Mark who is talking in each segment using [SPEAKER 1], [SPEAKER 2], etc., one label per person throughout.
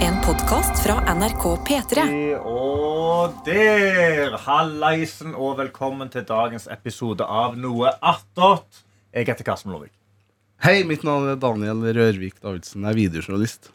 [SPEAKER 1] En podkast fra NRK P3.
[SPEAKER 2] Og der! Hallaisen, og velkommen til dagens episode av Noe attåt. Jeg heter Karsten Lovik.
[SPEAKER 3] Hei, mitt navn er Daniel Rørvik Davidsen. Jeg er videojournalist.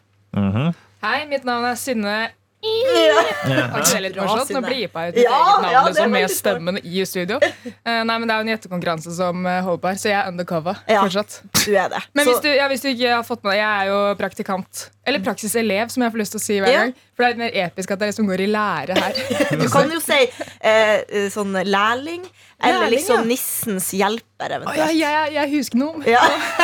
[SPEAKER 4] Hei, mitt navn er Synne. Ok, det er litt morsomt. Nå blipa jeg ut mitt
[SPEAKER 5] Ja,
[SPEAKER 4] eget navn
[SPEAKER 5] ja, det er
[SPEAKER 4] liksom, med
[SPEAKER 5] veldig smart.
[SPEAKER 4] stemmen i studio. Eh, nei, men Det er jo en gjettekonkurranse som eh, holder på her, så jeg er undercover
[SPEAKER 5] Ja.
[SPEAKER 4] fortsatt.
[SPEAKER 5] Du er det.
[SPEAKER 4] Men
[SPEAKER 5] Så-
[SPEAKER 4] hvis du, ja, hvis du ikke har fått med deg, jeg er jo praktikant. Eller praksiselev, som jeg får lyst til å si hver
[SPEAKER 5] Ja.
[SPEAKER 4] gang. For det er litt mer episk at det er liksom går i lære her.
[SPEAKER 5] du kan jo si eh, sånn lærling, eller
[SPEAKER 4] Lærling,
[SPEAKER 5] liksom
[SPEAKER 4] ja.
[SPEAKER 5] nissens hjelper,
[SPEAKER 4] Å, ja,
[SPEAKER 5] eventuelt.
[SPEAKER 4] jeg, jeg husker noe.
[SPEAKER 5] Ja.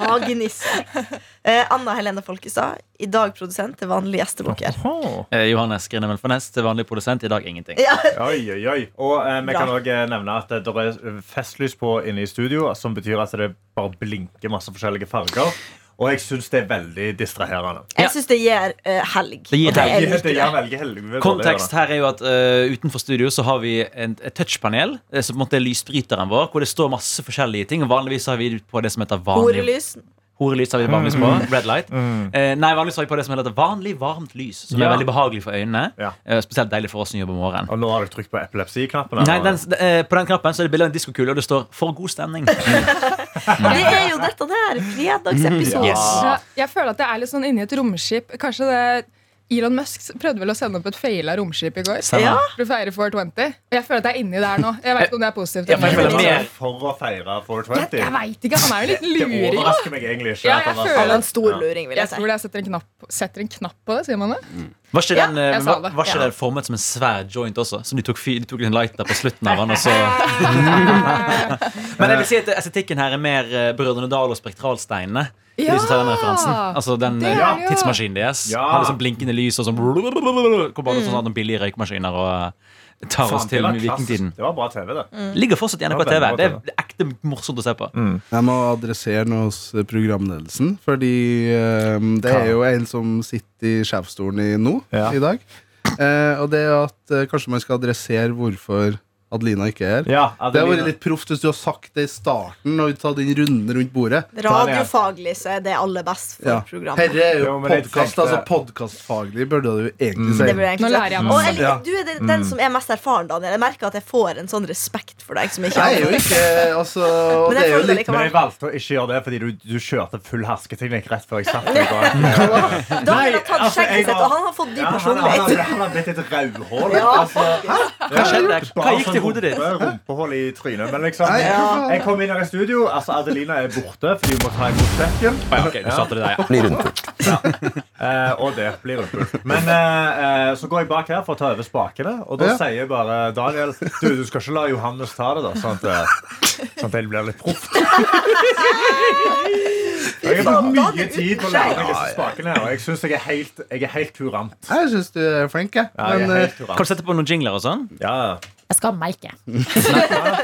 [SPEAKER 5] Hagenissen. Eh, Anna Helene Folkestad, i dag produsent til vanlig gjestebukker.
[SPEAKER 2] Oho.
[SPEAKER 6] Eh, Johannes Grinevel Fornes til vanlig produsent. I dag ingenting.
[SPEAKER 5] Ja.
[SPEAKER 2] Oi, oi, oi. Og eh, vi
[SPEAKER 5] Bra.
[SPEAKER 2] kan òg nevne at det er eh, festlys på inne i studio, som betyr at det bare blinker masse forskjellige farger. Og jeg syns det er veldig distraherende.
[SPEAKER 5] Jeg syns det gir eh, helg.
[SPEAKER 6] Det gir
[SPEAKER 5] og
[SPEAKER 2] Det
[SPEAKER 6] helg.
[SPEAKER 5] er
[SPEAKER 2] er
[SPEAKER 5] litt
[SPEAKER 2] veldig
[SPEAKER 5] det.
[SPEAKER 2] helvete
[SPEAKER 6] Kontekst her er jo at eh, Utenfor studio så har vi en, et touchpanel, eh, som på en måte er lysbryteren vår, hvor det står masse forskjellige ting. og Vanligvis har vi på det som heter vanlig
[SPEAKER 5] Horelys. Mm.
[SPEAKER 6] Horelys har vi vanligvis på. Red light. Eh, nei, vanligvis har vi på det som heter vanlig varmt lys, som
[SPEAKER 2] Ja.
[SPEAKER 6] er veldig behagelig for øynene.
[SPEAKER 2] Ja.
[SPEAKER 6] Eh, Spesielt deilig for oss som jobber om morgenen.
[SPEAKER 2] Og nå har du trykt på epilepsiknappen. her.
[SPEAKER 6] Nei, den, eh, på den knappen så er det bilde av en diskokule, og det står 'for god stemning'.
[SPEAKER 5] Det er jo dette der. Fredagsepisoden.
[SPEAKER 2] Yes.
[SPEAKER 4] Ja, jeg føler at det er litt sånn inni et romskip. Kanskje det Elon Musk prøvde vel å sende opp et feila romskip i går.
[SPEAKER 6] Stemmer.
[SPEAKER 5] Ja.
[SPEAKER 4] For å feire 420. Og jeg føler at det er inni der nå. Jeg vet ikke om det er positivt.
[SPEAKER 6] Ja, for
[SPEAKER 2] Men
[SPEAKER 6] jeg føler
[SPEAKER 2] han
[SPEAKER 4] eller
[SPEAKER 2] er
[SPEAKER 6] mer-
[SPEAKER 2] sånn for å feire
[SPEAKER 4] Jeg,
[SPEAKER 2] 420.
[SPEAKER 4] jeg veit ikke. Han er jo litt
[SPEAKER 2] Det
[SPEAKER 4] luring. da.
[SPEAKER 2] overrasker meg egentlig ikke.
[SPEAKER 4] Ja,
[SPEAKER 2] at han
[SPEAKER 4] jeg
[SPEAKER 2] har-
[SPEAKER 5] Han er
[SPEAKER 4] føler
[SPEAKER 5] en stor luring, vil jeg
[SPEAKER 4] Jeg
[SPEAKER 5] si.
[SPEAKER 4] tror det jeg setter en knapp, setter en knapp på det, sier man det?
[SPEAKER 6] Var ikke
[SPEAKER 5] Ja,
[SPEAKER 6] den, eh,
[SPEAKER 4] jeg sa
[SPEAKER 6] var,
[SPEAKER 4] det.
[SPEAKER 6] var ikke
[SPEAKER 5] Ja.
[SPEAKER 6] den formet som en svær joint også? Som de tok, fyr- de tok en lighter på slutten av den, og så Men
[SPEAKER 2] Eh.
[SPEAKER 6] jeg vil si at estetikken her er mer eh, Brødrene Dal og Spektralsteinene. Ja! De som tar den referansen Altså den
[SPEAKER 4] Det
[SPEAKER 6] eh,
[SPEAKER 4] er det jo.
[SPEAKER 6] tidsmaskinen deres.
[SPEAKER 2] Ja.
[SPEAKER 6] Har liksom blinkende lys og sånn Hvor
[SPEAKER 4] Mm.
[SPEAKER 6] bare sånn at noen billige røykmaskiner og eh, tar
[SPEAKER 2] Faen,
[SPEAKER 6] oss
[SPEAKER 2] det
[SPEAKER 6] til
[SPEAKER 2] var
[SPEAKER 6] vikingtiden.
[SPEAKER 2] klassisk. Det var bra TV, det.
[SPEAKER 4] Mm.
[SPEAKER 6] Ligger fortsatt i
[SPEAKER 2] Det
[SPEAKER 6] NRK
[SPEAKER 2] var
[SPEAKER 6] TV.
[SPEAKER 2] veldig
[SPEAKER 6] Det
[SPEAKER 2] bra
[SPEAKER 6] er ekte morsomt å se på.
[SPEAKER 3] Jeg må adressere noe hos eh, programledelsen, fordi eh, det er jo en som sitter i sjefsstolen i nå
[SPEAKER 2] Ja.
[SPEAKER 3] i dag. Eh, og det er at eh, kanskje man skal adressere hvorfor Adelina ikke er her.
[SPEAKER 2] Ja,
[SPEAKER 3] Det hadde
[SPEAKER 2] Adelina.
[SPEAKER 3] vært litt proft hvis du hadde sagt det i starten og tatt den runden rundt bordet.
[SPEAKER 5] Radiofaglig så er det aller best for
[SPEAKER 3] Ja.
[SPEAKER 5] programmet.
[SPEAKER 3] Herre er jo
[SPEAKER 2] Jo, men jeg tenkte-
[SPEAKER 3] podkast,
[SPEAKER 2] Mm.
[SPEAKER 3] altså podkastfaglig burde du jo egentlig
[SPEAKER 5] Det
[SPEAKER 3] si.
[SPEAKER 5] burde jeg
[SPEAKER 4] Nå
[SPEAKER 5] egentlig
[SPEAKER 4] lærer jeg
[SPEAKER 5] si. Og
[SPEAKER 4] masse.
[SPEAKER 5] jeg liker, du er den, den som er mest erfaren, Daniel. Jeg merker at jeg får en sånn respekt for deg som ikke
[SPEAKER 3] Jeg er jo
[SPEAKER 5] har
[SPEAKER 3] ikke altså, og
[SPEAKER 5] Men
[SPEAKER 3] det
[SPEAKER 5] jeg
[SPEAKER 3] er jo
[SPEAKER 5] føler det
[SPEAKER 3] litt
[SPEAKER 2] Men jeg
[SPEAKER 5] likevel.
[SPEAKER 2] valgte å ikke gjøre det fordi du, du kjørte full hersketeknikk rett før jeg satt deg. bak.
[SPEAKER 5] Daniel har tatt
[SPEAKER 2] altså, jeg
[SPEAKER 5] skjegget sitt,
[SPEAKER 2] var-
[SPEAKER 5] og han har fått ny
[SPEAKER 2] Ja, han, han,
[SPEAKER 5] personlighet.
[SPEAKER 2] han, han har blitt et rødhål.
[SPEAKER 5] Ja,
[SPEAKER 2] altså.
[SPEAKER 6] Hva skjedde? Hva gikk til hodet ditt?
[SPEAKER 2] Rumpe- sånn Rumpehull i trynet. Men liksom,
[SPEAKER 3] Nei, ja.
[SPEAKER 2] jeg kom inn her i studio. Altså, Adelina er borte fordi hun må ta imot sjekken.
[SPEAKER 6] Ok, du starter det der, ja.
[SPEAKER 2] Eh, og det blir rundpult. Men eh, eh, så går jeg bak her for å ta over spakene, og da
[SPEAKER 3] Ja.
[SPEAKER 2] sier jeg bare Daniel Du, du skal ikke la Johannes ta det, da, sånn at, eh, sånn at jeg blir litt proff. Jeg har brukt mye tid på å lære meg disse spakene, her, og jeg syns jeg er helt, jeg er helt kurant.
[SPEAKER 3] Jeg syns du er flink, jeg.
[SPEAKER 2] Ja, jeg
[SPEAKER 3] Men,
[SPEAKER 2] er
[SPEAKER 3] eh,
[SPEAKER 2] helt
[SPEAKER 6] Kan du
[SPEAKER 2] kurant.
[SPEAKER 6] sette på noen jingler og sånn?
[SPEAKER 2] Ja, ja.
[SPEAKER 7] Jeg skal ha merke.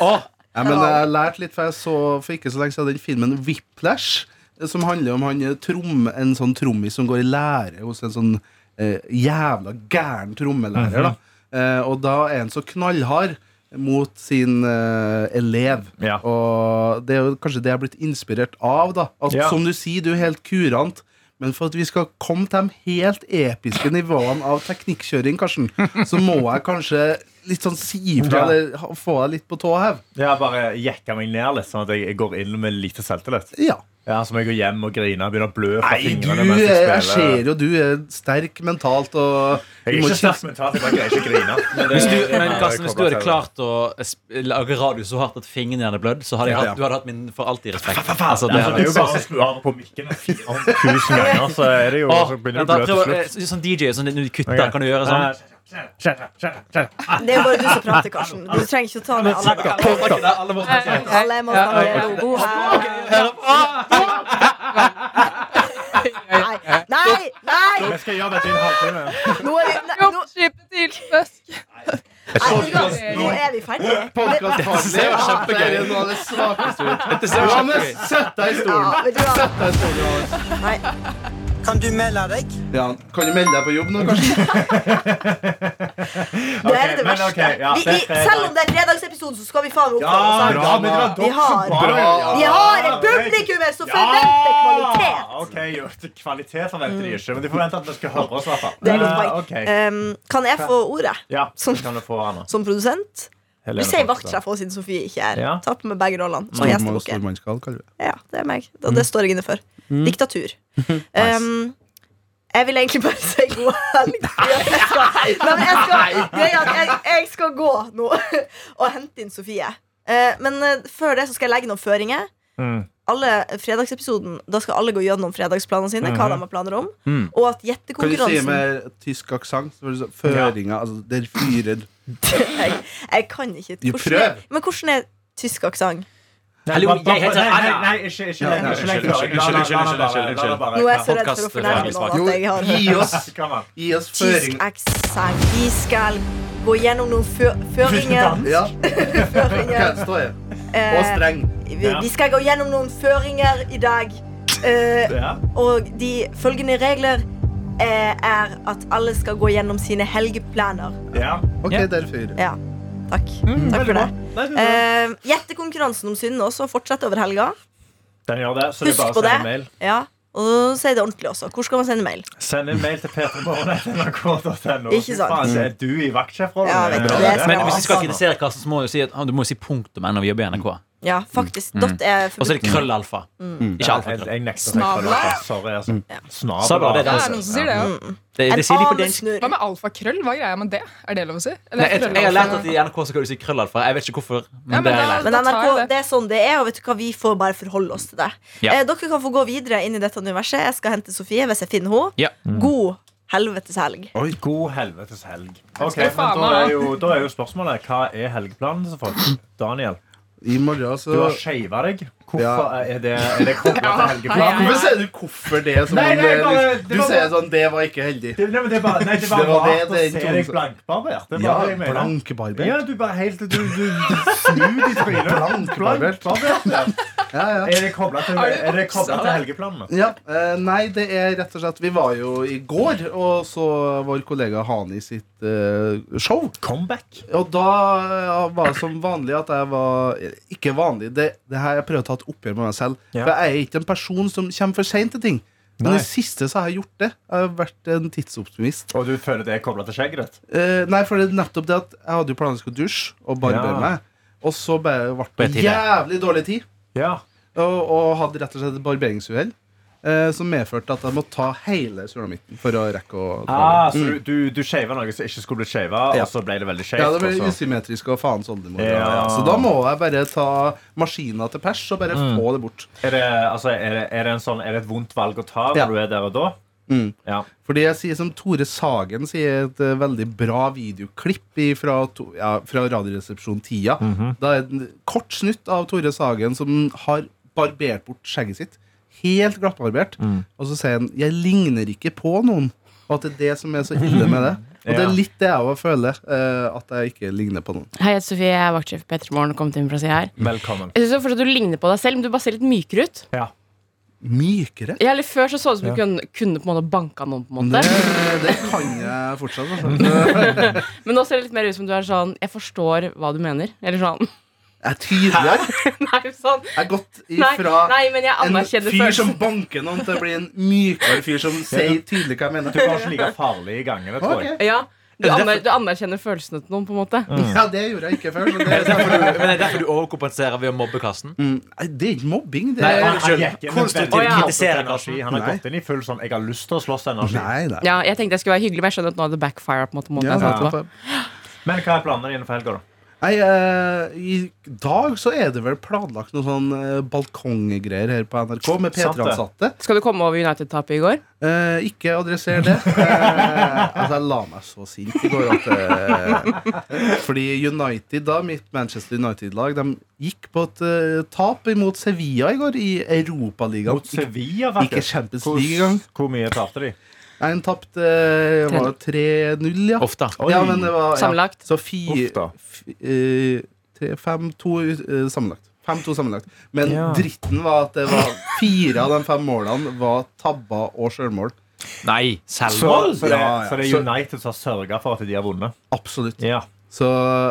[SPEAKER 6] Å,
[SPEAKER 3] Ja, men jeg har lært litt, for jeg så for ikke så lenge siden den filmen Whiplash, eh, som handler om han, eh, trom, en sånn trommis som går i lære hos en sånn eh, jævla gæren trommelærer.
[SPEAKER 2] Mhm.
[SPEAKER 3] da. Eh, og da er han så knallhard mot sin eh, elev.
[SPEAKER 2] Ja.
[SPEAKER 3] Og det er jo kanskje det jeg har blitt inspirert av. da. At
[SPEAKER 2] Ja.
[SPEAKER 3] Som du sier, du er helt kurant. Men for at vi skal komme til de helt episke nivåene av teknikkjøring, Karsten, så må jeg kanskje litt sånn si
[SPEAKER 2] Ja.
[SPEAKER 3] ifra, eller ha- få deg litt på tå hev.
[SPEAKER 2] Jeg bare jekka meg ned litt, sånn at jeg jeg går inn med lite selvtillit.
[SPEAKER 3] Ja.
[SPEAKER 2] Ja, Så må jeg gå hjem og grine og begynne å blø fra
[SPEAKER 3] Nei, du,
[SPEAKER 2] fingrene. mens
[SPEAKER 3] jeg,
[SPEAKER 2] jeg
[SPEAKER 3] ser
[SPEAKER 2] spiller.
[SPEAKER 3] jo du er sterk mentalt og
[SPEAKER 2] Jeg er
[SPEAKER 3] du må
[SPEAKER 2] ikke sterk mentalt, jeg bare greier ikke å grine. Men det-
[SPEAKER 6] Hvis du, men eh, Karsten, hvis du hadde
[SPEAKER 2] Jeg kobler
[SPEAKER 6] klart å sp- lage radio så hardt at fingrene hadde blødd, så hadde
[SPEAKER 3] Ja.
[SPEAKER 6] jeg hatt, du hadde hatt min for alltid respekt.
[SPEAKER 2] Altså,
[SPEAKER 6] Altså,
[SPEAKER 2] det,
[SPEAKER 6] det
[SPEAKER 2] er jo bare å skru av på mikken 4000 ganger, så er det jo
[SPEAKER 6] Åh,
[SPEAKER 2] så begynner
[SPEAKER 6] vent
[SPEAKER 2] det
[SPEAKER 6] da,
[SPEAKER 2] å blø til
[SPEAKER 6] prøv, å- eh,
[SPEAKER 2] slutt.
[SPEAKER 6] sånn DJ, sånn, når du kutter,
[SPEAKER 2] Ok.
[SPEAKER 6] kan du gjøre sånn?
[SPEAKER 5] Det er bare du som prater, Karsten. Du trenger ikke å ta med alle. Alle må snakke logo her. Nei, nei, nei!
[SPEAKER 2] Vi skal gjøre dette i en halvtime.
[SPEAKER 5] Nå er, vi- nei, nå, nei, vet du hva? nå er vi ferdige.
[SPEAKER 3] Podkastfaglig er det noe av det svakeste vi har gjort. Johannes, sett deg i
[SPEAKER 5] Ja,
[SPEAKER 3] stolen!
[SPEAKER 5] vet du hva?
[SPEAKER 3] Sett deg i stolen, Johannes.
[SPEAKER 5] Nei.
[SPEAKER 7] Kan du melde deg?
[SPEAKER 3] Ja, kan du melde deg på jobb nå, kanskje?
[SPEAKER 5] Det er det
[SPEAKER 2] men
[SPEAKER 5] verste.
[SPEAKER 2] ok, ja,
[SPEAKER 5] vi, vi,
[SPEAKER 2] dette er
[SPEAKER 5] selv om det er fredagsepisode, så skal vi faen meg oppføre oss.
[SPEAKER 2] Ja,
[SPEAKER 5] her.
[SPEAKER 2] bra, men det var
[SPEAKER 5] Vi
[SPEAKER 2] dere
[SPEAKER 5] har-
[SPEAKER 2] som var
[SPEAKER 3] Bra.
[SPEAKER 5] Vi har et publikummer som forventer kvalitet.
[SPEAKER 2] Ah, Ok, jo, Kvalitet forventer de ikke, men de forventer at vi skal høre oss. i hvert fall.
[SPEAKER 5] Det er godt poeng.
[SPEAKER 2] Eh, ok.
[SPEAKER 5] Ehm, kan jeg få ordet
[SPEAKER 2] Ja, så
[SPEAKER 5] Som-
[SPEAKER 2] kan du få Anna.
[SPEAKER 5] som produsent? Du
[SPEAKER 2] Helene
[SPEAKER 5] sier
[SPEAKER 2] Folkestad.
[SPEAKER 5] vaktsjef også, siden Sofie ikke er
[SPEAKER 2] Ja.
[SPEAKER 5] her. Ta på meg begge rollene. Som
[SPEAKER 3] Stormann-
[SPEAKER 5] gjestebukker.
[SPEAKER 3] Stormannskall, kaller vi det.
[SPEAKER 5] Ja, det er meg. Og det står jeg inne for. Diktatur. Um, jeg vil egentlig bare si god helg. fordi at Jeg skal, Nei, men jeg, skal, greia er at jeg, jeg skal gå nå og hente inn Sofie. Eh, men eh, før det så skal jeg legge noen føringer.
[SPEAKER 2] Mm.
[SPEAKER 5] Alle fredagsepisoden Da skal alle gå gjennom fredagsplanene sine. Hva de har planer om
[SPEAKER 6] Mm.
[SPEAKER 5] Og at
[SPEAKER 3] Kan du si
[SPEAKER 5] gjettekonkurransen
[SPEAKER 3] med tysk aksent? så var det så- Føringa, altså Der fyrer
[SPEAKER 5] jeg, jeg kan ikke
[SPEAKER 3] Jo,
[SPEAKER 5] hvordan er-
[SPEAKER 3] prøv.
[SPEAKER 5] Men hvordan er tysk aksent?
[SPEAKER 6] Hallo, jeg
[SPEAKER 2] Nei,
[SPEAKER 6] heter
[SPEAKER 2] nei,
[SPEAKER 6] Anna.
[SPEAKER 2] nei, ikke ikke
[SPEAKER 3] Ja, nei,
[SPEAKER 2] lenger.
[SPEAKER 3] unnskyld,
[SPEAKER 6] unnskyld, unnskyld, unnskyld, unnskyld.
[SPEAKER 5] Nå er jeg så redd for å
[SPEAKER 6] Podcast-
[SPEAKER 5] fornærme noen at jeg har
[SPEAKER 3] Gi oss,
[SPEAKER 2] Kom an.
[SPEAKER 3] gi oss
[SPEAKER 5] Tysk
[SPEAKER 3] føring.
[SPEAKER 5] aksent. Vi skal gå gjennom noen fø føringer.
[SPEAKER 3] Ja,
[SPEAKER 5] føringer.
[SPEAKER 3] kan stå her. Og
[SPEAKER 5] Eh,
[SPEAKER 3] streng.
[SPEAKER 5] vi, vi skal gå gjennom noen føringer i dag. Eh,
[SPEAKER 2] Ja.
[SPEAKER 5] og de følgende regler eh, er at alle skal gå gjennom sine helgeplaner.
[SPEAKER 2] Ja.
[SPEAKER 3] Ok,
[SPEAKER 6] Ja.
[SPEAKER 3] der fyrer.
[SPEAKER 5] Ja, takk.
[SPEAKER 6] Mm,
[SPEAKER 5] takk for det. Eh, Gjettekonkurransen om synden også fortsetter over helga.
[SPEAKER 2] Den gjør det, så det er
[SPEAKER 5] Husk
[SPEAKER 2] bare å
[SPEAKER 5] på
[SPEAKER 2] sende
[SPEAKER 5] det.
[SPEAKER 2] mail.
[SPEAKER 5] Ja, og si det ordentlig også. Hvor skal man sende mail?
[SPEAKER 2] Send en mail til p3morgen.nrk.no.
[SPEAKER 5] Ikke sant.
[SPEAKER 2] Er du i vaktsjefrollen?
[SPEAKER 5] Ja, vet du,
[SPEAKER 2] Bra,
[SPEAKER 5] det er så
[SPEAKER 6] Men
[SPEAKER 5] bra.
[SPEAKER 6] hvis vi skal kritisere Karsten, så må du si, at, ah, du må si punktum når vi jobber i NRK.
[SPEAKER 2] Mm.
[SPEAKER 5] Ja, faktisk.
[SPEAKER 6] Mm.
[SPEAKER 5] Dot er
[SPEAKER 6] Og så er det
[SPEAKER 5] forbudt.
[SPEAKER 6] krøllalfa. Ikke alfa.
[SPEAKER 2] Jeg,
[SPEAKER 6] krøll.
[SPEAKER 2] jeg nekter å
[SPEAKER 4] Snabla?
[SPEAKER 2] tenke på det. Sorry, altså.
[SPEAKER 5] Mm.
[SPEAKER 2] Snabla.
[SPEAKER 6] Snabla, det er
[SPEAKER 4] Ja,
[SPEAKER 6] det.
[SPEAKER 4] det er noen som sier det, ja.
[SPEAKER 6] Det, det sier de på dansk.
[SPEAKER 5] En
[SPEAKER 4] Hva
[SPEAKER 5] anesnurr.
[SPEAKER 4] med alfakrøll? Hva er greia med det? Er det lov å si? Eller
[SPEAKER 6] Nei, jeg, jeg har
[SPEAKER 4] krøllalfa?
[SPEAKER 6] lært at i NRK så kan du si krøllalfa. Jeg vet ikke hvorfor. Men
[SPEAKER 4] Ja, men
[SPEAKER 6] det har jeg
[SPEAKER 4] da-
[SPEAKER 6] lært.
[SPEAKER 5] Men
[SPEAKER 4] Da tar jeg
[SPEAKER 5] NRK,
[SPEAKER 4] det.
[SPEAKER 5] det er sånn det er, og vet du hva, vi får bare forholde oss til det.
[SPEAKER 6] Ja.
[SPEAKER 5] Eh, dere kan få gå videre inn i dette universet. Jeg skal hente Sofie hvis jeg finner henne.
[SPEAKER 6] Ja.
[SPEAKER 5] God helvetes helg.
[SPEAKER 2] Oi, god helvetes helg. Ok, men
[SPEAKER 4] skal du faen
[SPEAKER 2] da er,
[SPEAKER 4] meg ha.
[SPEAKER 2] jo, da er jo spørsmålet hva er helgeplanen til folk? Daniel,
[SPEAKER 3] I
[SPEAKER 2] du
[SPEAKER 3] morgen så
[SPEAKER 2] har sheiva deg. Hvorfor
[SPEAKER 3] Ja.
[SPEAKER 2] er det, er det koblet til helgeplanen?
[SPEAKER 3] Hvorfor sier du hvorfor det? Som
[SPEAKER 2] Nei,
[SPEAKER 3] om
[SPEAKER 2] nei,
[SPEAKER 3] det-
[SPEAKER 2] bare- det
[SPEAKER 3] du
[SPEAKER 2] var
[SPEAKER 3] sier
[SPEAKER 2] bare-
[SPEAKER 3] sånn Det var ikke heldig.
[SPEAKER 2] Det, nei, men det er bare, nei, det er bare
[SPEAKER 3] Det var det
[SPEAKER 2] rart å
[SPEAKER 3] den
[SPEAKER 2] se
[SPEAKER 3] tonen
[SPEAKER 2] deg
[SPEAKER 5] sånn-
[SPEAKER 3] som-
[SPEAKER 2] blankbarbert. Det er
[SPEAKER 3] Ja,
[SPEAKER 2] bare det jeg mener.
[SPEAKER 3] blankbarbert.
[SPEAKER 2] Ja, du bare helt Du, du, du snur i trynet.
[SPEAKER 3] Blankbarbert.
[SPEAKER 2] Blankbarbert, ja.
[SPEAKER 3] Ja, ja.
[SPEAKER 2] Er det koblet til, er det koblet til helgeplanene?
[SPEAKER 3] Ja, eh, Nei, det er rett og slett Vi var jo i går og så vår kollega Hani sitt eh, show.
[SPEAKER 2] Comeback?
[SPEAKER 3] Og da eh, var det som vanlig at jeg var Ikke vanlig. Det, det her jeg prøver å ta et oppgjør med meg selv.
[SPEAKER 2] Ja.
[SPEAKER 3] For jeg er ikke en person som kommer for seint til ting. Men
[SPEAKER 2] Nei.
[SPEAKER 3] det siste så har jeg gjort det. Jeg har vært en tidsoptimist.
[SPEAKER 2] Og du føler det er koblet til skjegget ditt?
[SPEAKER 3] Eh, nei, for det er nettopp det at jeg hadde jo planer om jeg skulle dusje og barbere
[SPEAKER 2] Ja.
[SPEAKER 3] meg. Og så bare ble det
[SPEAKER 6] På tide.
[SPEAKER 3] jævlig dårlig tid,
[SPEAKER 2] Ja.
[SPEAKER 3] og, og hadde rett og slett et barberingsuhell. eh, som medførte at jeg måtte ta hele sulamitten for å rekke å ta
[SPEAKER 2] Ah,
[SPEAKER 3] den.
[SPEAKER 2] så du, du, du sheiva noe som ikke skulle blitt sheiva,
[SPEAKER 3] Mm. Ja.
[SPEAKER 2] og så ble det veldig
[SPEAKER 3] Ja,
[SPEAKER 2] skeivt?
[SPEAKER 3] det ble
[SPEAKER 2] og så-
[SPEAKER 3] usymmetrisk og faens oldemor.
[SPEAKER 2] Ja.
[SPEAKER 3] Ja. Så da må jeg bare ta maskina til pers og bare få det bort.
[SPEAKER 2] Er, det, altså, er, det, er, det en sånn, er det et vondt valg å ta
[SPEAKER 3] Ja.
[SPEAKER 2] når du er der og da?
[SPEAKER 3] Mm.
[SPEAKER 2] Ja.
[SPEAKER 3] Fordi jeg sier som Tore Sagen sier et eh, veldig bra videoklipp i, fra, to- ja, fra Radioresepsjon Tida. Da er det en kort snutt av Tore Sagen som har barbert bort skjegget sitt. Helt glattbarbert. Og så sier han 'jeg ligner ikke på noen'. Og at det er det som er så ille med det. Og det
[SPEAKER 2] Ja.
[SPEAKER 3] er litt det jeg òg føler. eh, at jeg ikke ligner på noen.
[SPEAKER 8] Hei, jeg heter Sofie, jeg er vaktsjef i Petter Morgen og kommet inn for å si her.
[SPEAKER 2] Velkommen.
[SPEAKER 8] Jeg synes jo fortsatt du ligner på deg selv, men du bare ser litt mykere ut.
[SPEAKER 3] Mykere?
[SPEAKER 8] Ja, eller Før så så det ut som du kunne, kunne på en måte banka noen, på en
[SPEAKER 3] Det,
[SPEAKER 8] måte.
[SPEAKER 3] det kan jeg fortsatt. Altså.
[SPEAKER 8] Men nå ser det litt mer ut som du er sånn Jeg forstår hva du mener. Eller sånn.
[SPEAKER 3] Jeg er tydeligere.
[SPEAKER 8] Nei, sånn.
[SPEAKER 3] Jeg har gått
[SPEAKER 8] Nei,
[SPEAKER 3] ifra
[SPEAKER 8] nei men jeg
[SPEAKER 3] en
[SPEAKER 8] anerkjenner
[SPEAKER 3] fyr som
[SPEAKER 8] følelsen.
[SPEAKER 3] banker noen, til å bli en mykere fyr som sier tydelig hva jeg mener.
[SPEAKER 2] Du var ikke like farlig i gangene, tror jeg.
[SPEAKER 3] Ok.
[SPEAKER 8] Ja, du, aner, du anerkjenner følelsene til noen, på en måte.
[SPEAKER 3] Ja,
[SPEAKER 2] Mm.
[SPEAKER 3] det gjorde jeg ikke før. Så det, er
[SPEAKER 6] Men
[SPEAKER 3] derfor-
[SPEAKER 6] det er derfor du overkompenserer ved å mobbe Karsten?
[SPEAKER 5] Mm.
[SPEAKER 3] Nei, det er ikke mobbing. Det
[SPEAKER 6] Nei,
[SPEAKER 3] er,
[SPEAKER 2] Han,
[SPEAKER 6] Unnskyld.
[SPEAKER 2] han gikk inn med
[SPEAKER 6] Konstruktiv
[SPEAKER 2] veldig
[SPEAKER 8] kritikk.
[SPEAKER 2] positiv energi. Han har
[SPEAKER 3] Nei.
[SPEAKER 2] gått inn i full sånn 'jeg har lyst til å slåss' energi.
[SPEAKER 3] nei, nei.
[SPEAKER 8] Ja, Jeg tenkte jeg skulle være hyggelig, men jeg skjønner at nå er det backfire. på en måte, måten
[SPEAKER 3] Ja,
[SPEAKER 8] jeg sa det på.
[SPEAKER 3] nettopp.
[SPEAKER 2] Men hva er planene dine for helga, da?
[SPEAKER 3] Nei, eh, I dag så er det vel planlagt noen sånn eh, balkonggreier her på NRK med
[SPEAKER 2] Sant det.
[SPEAKER 3] P3-ansatte.
[SPEAKER 8] Skal du komme over United-tapet i går?
[SPEAKER 3] Eh, ikke adresser det. Eh, altså, jeg la meg så sint i går at eh, Fordi United, da, mitt Manchester United-lag, de gikk på et eh, tap imot Sevilla i går i Europaligaen.
[SPEAKER 2] Mot
[SPEAKER 3] Ikke-
[SPEAKER 2] Sevilla,
[SPEAKER 3] Ikke
[SPEAKER 2] faktisk.
[SPEAKER 3] Champions
[SPEAKER 2] Hvor,
[SPEAKER 3] League engang.
[SPEAKER 2] hvor mye tapte de?
[SPEAKER 3] Nei, hun tapte eh, var det 3-0, ja.
[SPEAKER 6] Ofte.
[SPEAKER 3] ja, men det var, ja.
[SPEAKER 8] Sammenlagt.
[SPEAKER 3] Så
[SPEAKER 2] Uff da.
[SPEAKER 3] 5-2 eh, sammenlagt. 5-2 sammenlagt. Men
[SPEAKER 6] Ja.
[SPEAKER 3] dritten var at det var fire av de fem målene var tabber og sjølmål.
[SPEAKER 6] Nei,
[SPEAKER 2] Så,
[SPEAKER 6] selvmål?
[SPEAKER 2] så, det,
[SPEAKER 3] Ja, ja.
[SPEAKER 2] så det er
[SPEAKER 3] Så-
[SPEAKER 2] United som har sørga for at de har vunnet.
[SPEAKER 3] Absolutt.
[SPEAKER 2] Ja.
[SPEAKER 3] Så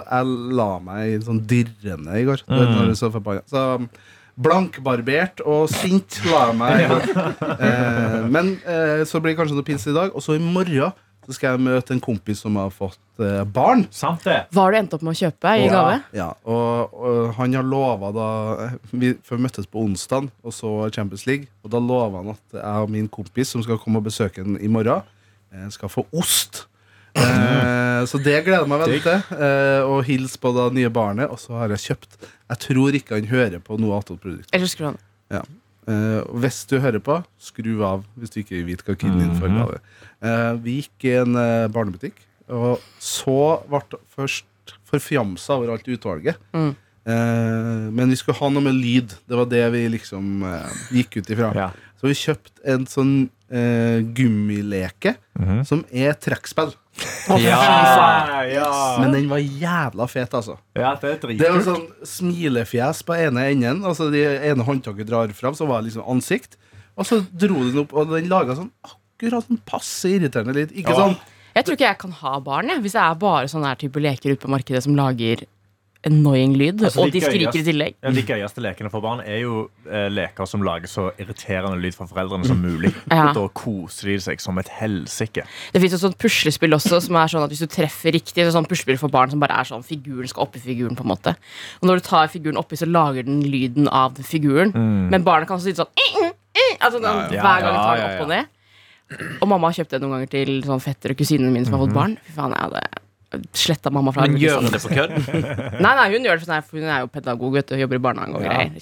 [SPEAKER 3] jeg la meg i en sånn dirrende i går. Mm. Når jeg så forbanna. Så blankbarbert og sint la jeg meg i går. Eh, men eh, så blir det kanskje noe pinse i dag. Og så i morgen så skal jeg møte en kompis som har fått eh, barn.
[SPEAKER 2] Sant det.
[SPEAKER 8] Hva har du endt opp med å kjøpe i
[SPEAKER 2] Ja.
[SPEAKER 8] gave?
[SPEAKER 3] Ja, og, og han har lova da vi, For vi møttes på onsdag og så Champions League. Og da lova han at jeg og min kompis som skal komme og besøke ham i morgen, eh, skal få ost. Eh, så det gleder jeg meg veldig til. Eh, og hils på det nye barnet. Og så har jeg kjøpt Jeg tror ikke han hører på noe Atol-produkt.
[SPEAKER 8] Eller husker du han?
[SPEAKER 3] Eh, og hvis du hører på, skru av hvis du ikke vet hva kiden din får gave. Eh, vi gikk i en eh, barnebutikk, og så ble jeg først forfjamsa over alt utvalget.
[SPEAKER 8] Mm.
[SPEAKER 3] Eh, men vi skulle ha noe med lyd. Det var det vi liksom eh, gikk ut ifra.
[SPEAKER 2] Ja.
[SPEAKER 3] Så vi kjøpte en sånn eh, gummileke
[SPEAKER 2] Mhm.
[SPEAKER 3] som er trekkspill.
[SPEAKER 6] Ja.
[SPEAKER 3] Men den var jævla fet, altså.
[SPEAKER 2] ja, det er
[SPEAKER 3] Det var
[SPEAKER 2] dritkult.
[SPEAKER 3] sånn smilefjes på ene enden. Altså Det ene håndtaket drar fram, så var det liksom ansikt. Og så dro den opp, og den laga sånn akkurat sånn passe irriterende lyd. Ikke
[SPEAKER 2] Ja.
[SPEAKER 3] sånn
[SPEAKER 8] Jeg tror ikke jeg kan ha barn, jeg, hvis det er bare sånne her type leker ute på markedet som lager annoying lyd,
[SPEAKER 2] Altså, de
[SPEAKER 8] og de skriker
[SPEAKER 2] gøyeste-
[SPEAKER 8] i tillegg.
[SPEAKER 2] Ja, de gøyeste lekene for barn er jo eh, leker som lager så irriterende lyd for foreldrene som mulig.
[SPEAKER 8] Ja.
[SPEAKER 2] Da koser de seg som et helsike.
[SPEAKER 8] Det fins et sånt puslespill også, som er sånn at hvis du treffer riktig, så er det sånn puslespill for barn som bare er sånn figuren skal oppi figuren, på en måte. Og når du tar figuren oppi, så lager den lyden av den figuren. Men barnet kan også sitte sånn "Eh, eh, eh," altså, den,
[SPEAKER 6] Mm. ja.
[SPEAKER 8] Hver gang du
[SPEAKER 6] Ja,
[SPEAKER 8] tar den
[SPEAKER 6] ja,
[SPEAKER 8] opp og ned. Og mamma har kjøpt det noen ganger til sånn fettere og kusinene mine som har fått barn. Fy faen, jeg hadde sletta mamma fra
[SPEAKER 6] Mhm.
[SPEAKER 8] liksom.
[SPEAKER 6] Men gjør
[SPEAKER 8] arvelisten.
[SPEAKER 6] hun det på kødd?
[SPEAKER 8] Nei, nei, hun gjør det for sånn her, for hun er jo pedagog vet du, og jobber i barnehage og greier.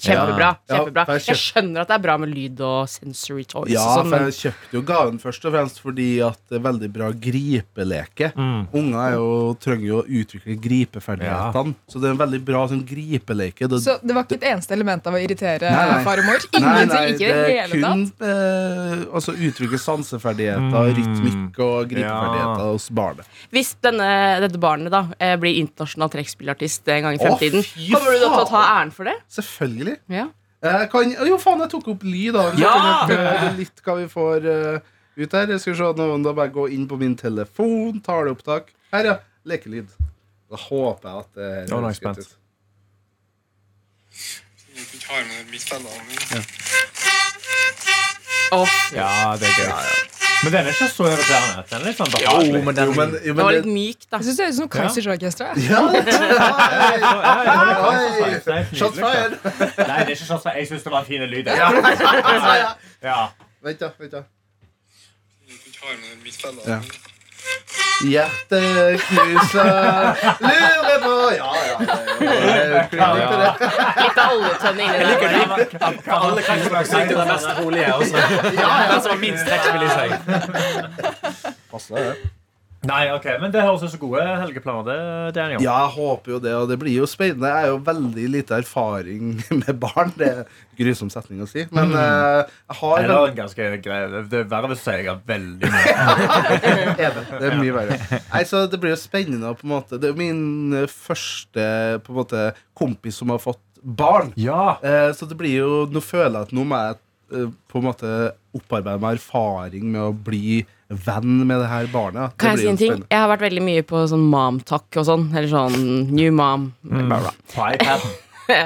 [SPEAKER 3] Ja.
[SPEAKER 8] Kjempebra. kjempebra
[SPEAKER 3] Ja, for jeg
[SPEAKER 8] Jeg
[SPEAKER 3] kjøp-
[SPEAKER 8] skjønner at det er bra med lyd og sensory toys.
[SPEAKER 3] Ja,
[SPEAKER 8] og sånn,
[SPEAKER 3] for
[SPEAKER 8] men
[SPEAKER 3] jeg eh, kjøpte jo gaven først og fremst fordi at det er veldig bra gripeleke. Unger er jo, trenger jo å utvikle gripeferdighetene, så det er en veldig bra sånn gripeleke. Det,
[SPEAKER 4] Så det var ikke et eneste element av å irritere
[SPEAKER 3] Nei, nei.
[SPEAKER 4] far og mor?
[SPEAKER 3] nei,
[SPEAKER 4] Ingenting?
[SPEAKER 3] nei,
[SPEAKER 4] ikke
[SPEAKER 3] det
[SPEAKER 4] i det
[SPEAKER 3] er
[SPEAKER 4] hele tatt?
[SPEAKER 3] kun eh, altså uttrykke sanseferdigheter, rytmikk og gripeferdigheter
[SPEAKER 2] Ja.
[SPEAKER 3] hos barnet.
[SPEAKER 8] Hvis denne, dette barnet da eh, blir internasjonal trekkspillartist en gang i
[SPEAKER 3] Å,
[SPEAKER 8] fremtiden,
[SPEAKER 3] fy
[SPEAKER 8] kommer du da til å ta
[SPEAKER 3] faen!
[SPEAKER 8] æren for det?
[SPEAKER 3] Selvfølgelig.
[SPEAKER 8] Ja.
[SPEAKER 3] Jeg kan, jo, faen, jeg tok opp lyd, da. Så
[SPEAKER 6] Ja!
[SPEAKER 3] kan jeg prøve litt hva vi får eh, ut her. Jeg skal vi se noen da bare gå inn på min telefon, taleopptak. Her, ja. Lekelyd. Da håper jeg at det
[SPEAKER 2] Nå er
[SPEAKER 3] her
[SPEAKER 2] jeg
[SPEAKER 3] høres godt
[SPEAKER 2] spent.
[SPEAKER 3] ut.
[SPEAKER 2] Ja, det er gøy. Men den er ikke så irriterende. Den er litt sånn
[SPEAKER 6] Jo,
[SPEAKER 2] behagelig.
[SPEAKER 6] men den
[SPEAKER 3] Jo, men, jo,
[SPEAKER 8] Det var
[SPEAKER 3] men
[SPEAKER 8] litt myk, da.
[SPEAKER 4] Jeg syns det høres ut som Kaisersorkesteret.
[SPEAKER 3] ja,
[SPEAKER 2] Ja, ja, ja, ja, ja, ja, ja, ja,
[SPEAKER 3] Oi!
[SPEAKER 2] ja, ja,
[SPEAKER 3] Shot
[SPEAKER 2] ja.
[SPEAKER 3] fire!
[SPEAKER 2] Nei, det er ikke shot fire. Jeg syns det var en fin lyd.
[SPEAKER 3] Ja, ja, ja.
[SPEAKER 2] Ja.
[SPEAKER 3] Vent, da. vent da Ja. Hjerteknuser lurer på Ja, ja. ja, ja, ja.
[SPEAKER 8] Litt av oljetønne inni der.
[SPEAKER 6] Hva alle trekkspillsakene er mest rolige også. Den som har minst trekkspill i seg.
[SPEAKER 3] Passer det, det.
[SPEAKER 2] Nei, ok, men det høres ut som gode helgeplaner. Det, det er en gang.
[SPEAKER 3] Ja, jeg håper jo det, og det blir jo spennende. Jeg er jo veldig lite erfaring med barn. Det er en grusom setning å si.
[SPEAKER 8] Mm.
[SPEAKER 3] Men eh, jeg har
[SPEAKER 2] Det er en ganske grei Det er verre hvis jeg har veldig mye.
[SPEAKER 3] Enig. Det er mye verre. Nei, så Det blir jo spennende. på en måte Det er min eh, første på en måte, kompis som har fått barn.
[SPEAKER 2] Ja.
[SPEAKER 3] Eh, så det blir jo Nå føler jeg at nå må jeg eh, på en måte opparbeide meg erfaring med å bli venn med det her barnet. Det
[SPEAKER 8] Kan jeg
[SPEAKER 3] blir
[SPEAKER 8] si
[SPEAKER 3] jo
[SPEAKER 8] en ting?
[SPEAKER 3] spennende.
[SPEAKER 8] Jeg har vært veldig mye på sånn momtalk og sånn. Eller sånn new mom. Bla, bla.
[SPEAKER 2] På iPaden.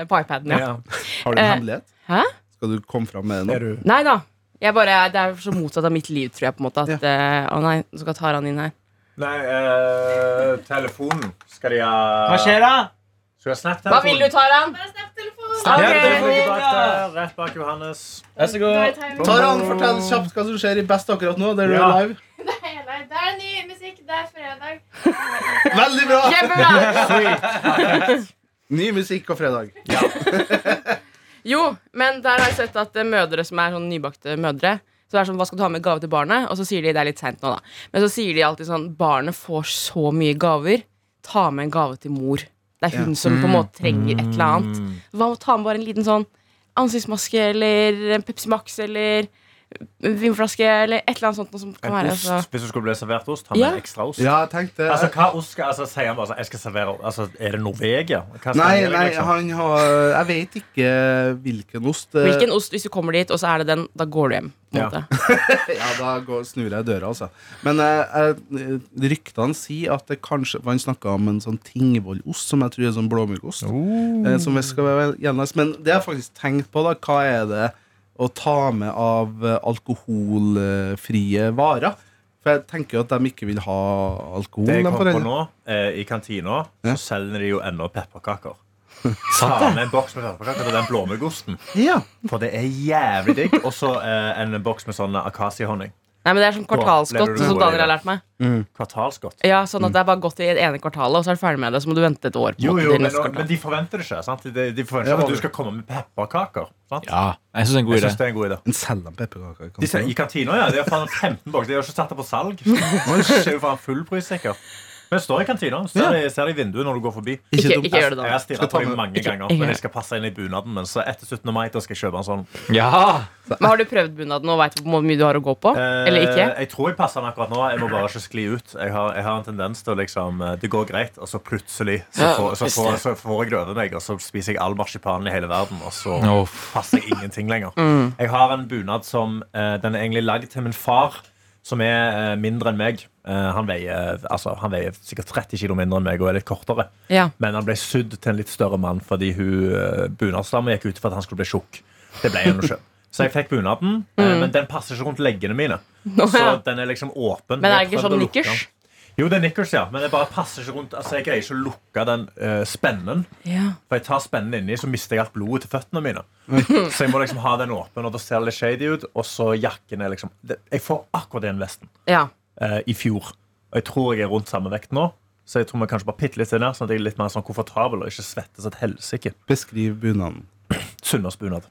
[SPEAKER 8] På iPaden, ja.
[SPEAKER 2] Ja.
[SPEAKER 3] Har du en
[SPEAKER 8] Eh,
[SPEAKER 3] hemmelighet?
[SPEAKER 8] hæ?
[SPEAKER 3] Skal du komme fram med det nå?
[SPEAKER 8] Nei da. Jeg bare, det er så motsatt av mitt liv, tror jeg. på en måte At, eh, Å nei, nå skal Taran inn her.
[SPEAKER 2] Nei, eh, telefonen skal de ha
[SPEAKER 6] Hva skjer da?
[SPEAKER 2] Skal de ha Snap-telefon?
[SPEAKER 8] Hva vil du, Taran?
[SPEAKER 2] Snap-telefon
[SPEAKER 8] Ok.
[SPEAKER 2] er bak der, Rett bak Johannes.
[SPEAKER 6] Vær så god.
[SPEAKER 3] Taran, fortell kjapt hva som skjer i Best akkurat nå. Der du
[SPEAKER 2] Ja.
[SPEAKER 3] er live.
[SPEAKER 7] Det er ny musikk, det er fredag.
[SPEAKER 3] Veldig bra!
[SPEAKER 8] Kjempebra!
[SPEAKER 3] Ny musikk og fredag.
[SPEAKER 8] Jo, men der har jeg sett at eh, mødre som er sånn nybakte mødre så det er sånn, Hva skal du ha med gave til barnet? Og så sier de det er litt sent nå, da. Men så sier de alltid sånn Barnet får så mye gaver. Ta med en gave til mor. Det er hun som på en måte trenger et eller
[SPEAKER 2] Mm.
[SPEAKER 8] annet. Hva med å ta med bare en liten sånn ansiktsmaske eller en Pepsi Max eller vinflaske eller et eller annet sånt noe som kan
[SPEAKER 2] En
[SPEAKER 8] være altså.
[SPEAKER 2] ost,
[SPEAKER 8] så.
[SPEAKER 2] hvis du skulle bli servert ost, ta med
[SPEAKER 8] Ja.
[SPEAKER 2] en ekstra ost.
[SPEAKER 3] Ja, jeg tenkte
[SPEAKER 2] Altså, hva ost skal altså, Sier han bare sånn, jeg skal servere altså, Er det Norvegia? Hva skal
[SPEAKER 3] Nei,
[SPEAKER 2] jeg gjøre,
[SPEAKER 3] nei,
[SPEAKER 2] liksom?
[SPEAKER 3] han har Jeg vet ikke hvilken ost. eh,
[SPEAKER 8] Hvilken ost, hvis du kommer dit, og så er det den, da går du hjem. På en
[SPEAKER 2] Ja.
[SPEAKER 8] måte.
[SPEAKER 3] Ja, da går, snur jeg i døra, altså. Men eh, eh, ryktene sier at det kanskje for Han snakka om en sånn Tingvollost, som jeg tror er sånn blåmuggost.
[SPEAKER 2] Oh.
[SPEAKER 3] eh, som vi skal være gjenlest. Men det har jeg faktisk tenkt på, da. Hva er det å ta med av eh, alkoholfrie varer? For jeg tenker jo at de ikke vil ha alkohol.
[SPEAKER 2] Det jeg
[SPEAKER 3] de
[SPEAKER 2] kom på
[SPEAKER 3] foreldrene.
[SPEAKER 2] nå, eh, i kantina,
[SPEAKER 3] Ja.
[SPEAKER 2] så selger de jo ennå pepperkaker. Ta med en boks med pepperkaker til den blåmuggosten.
[SPEAKER 3] Ja.
[SPEAKER 2] For det er jævlig digg. Og så eh, en boks med sånn akasiehonning.
[SPEAKER 8] Nei, men Det er sånn
[SPEAKER 2] lever
[SPEAKER 8] kvartalsgodt,
[SPEAKER 2] du
[SPEAKER 8] som
[SPEAKER 2] gode
[SPEAKER 8] Daniel har
[SPEAKER 2] livet.
[SPEAKER 8] lært meg.
[SPEAKER 2] Kvartalsgodt.
[SPEAKER 8] Ja, sånn at Det er bare godt i det ene kvartalet, og så er du ferdig med det. Så må du vente et år. på
[SPEAKER 2] Mm. Jo,
[SPEAKER 8] det
[SPEAKER 2] jo, men,
[SPEAKER 8] neste kvartal.
[SPEAKER 2] men de forventer det ikke. Sant? De, de forventer
[SPEAKER 3] Ja,
[SPEAKER 2] ikke at
[SPEAKER 3] men-
[SPEAKER 2] du skal komme med pepperkaker. Sant?
[SPEAKER 6] Ja, jeg syns det er en god
[SPEAKER 2] Jeg
[SPEAKER 6] idé.
[SPEAKER 2] synes det er en god idé.
[SPEAKER 3] Men selger de pepperkaker? i
[SPEAKER 2] De ser, I
[SPEAKER 3] kantina?
[SPEAKER 2] kantina, ja. De har faen 15 bokser. De har ikke satt det på salg. Det er jo faen fullpris, sikkert. Men det står i kantina. Ser de, ser de i vinduet når du går forbi.
[SPEAKER 8] Ikke,
[SPEAKER 3] dumt.
[SPEAKER 8] ikke gjør
[SPEAKER 2] Jeg
[SPEAKER 8] det, da.
[SPEAKER 2] har stirret på dem mange ganger,
[SPEAKER 8] ikke-
[SPEAKER 2] men jeg skal passe inn i bunaden. Men så etter 17. mai da skal jeg kjøpe en sånn.
[SPEAKER 6] Ja!
[SPEAKER 8] Men Har du prøvd bunaden og veit hvor mye du har å gå på?
[SPEAKER 2] Eh,
[SPEAKER 8] Eller ikke?
[SPEAKER 2] Jeg tror jeg passer den akkurat nå. Jeg må bare ikke skli ut. Jeg har, jeg har en tendens til å liksom eh, Det går greit, og så plutselig så
[SPEAKER 6] Ja,
[SPEAKER 2] får, så
[SPEAKER 6] visst
[SPEAKER 2] får,
[SPEAKER 6] det.
[SPEAKER 2] så får jeg det over meg, og så spiser jeg all marsipanen i hele verden, og så
[SPEAKER 6] Å,
[SPEAKER 2] passer jeg ingenting lenger.
[SPEAKER 6] Mm.
[SPEAKER 2] Jeg har en bunad som eh, Den er egentlig lagd til min far, som er eh, mindre enn meg. Eh, han, veier, altså, han veier sikkert 30 kg mindre enn meg og er litt kortere.
[SPEAKER 8] Ja.
[SPEAKER 2] Men han ble sydd til en litt større mann fordi hun eh, bunadsdama gikk ut for at han skulle bli tjukk. Det ble han jo ikke. Så jeg fikk bunaden, eh, men den passer ikke rundt leggene mine. Så
[SPEAKER 8] Mm. ja.
[SPEAKER 2] den er liksom åpen.
[SPEAKER 8] Men
[SPEAKER 2] Jeg
[SPEAKER 8] er
[SPEAKER 2] har
[SPEAKER 8] det
[SPEAKER 2] prøvd
[SPEAKER 8] ikke sånn
[SPEAKER 2] å lukke den.
[SPEAKER 8] nikkers?
[SPEAKER 2] Jo, det er nikkers, ja. Men det bare passer ikke rundt. Altså, jeg greier ikke å lukke den eh, spennen.
[SPEAKER 8] Ja.
[SPEAKER 2] For jeg tar spennen inni, så mister jeg alt blodet til føttene mine. Så jeg må liksom ha den åpen, og da ser det litt shady ut. Og så jakken er liksom det- Jeg får akkurat den vesten
[SPEAKER 8] ja.
[SPEAKER 2] eh, i fjor. Og jeg tror jeg er rundt samme vekt nå. Så jeg tror vi kanskje bare pitter litt til der, sånn at jeg er litt mer sånn komfortabel og ikke svetter som et helsike.
[SPEAKER 3] Beskriv bunaden.
[SPEAKER 2] Sunnmørsbunad.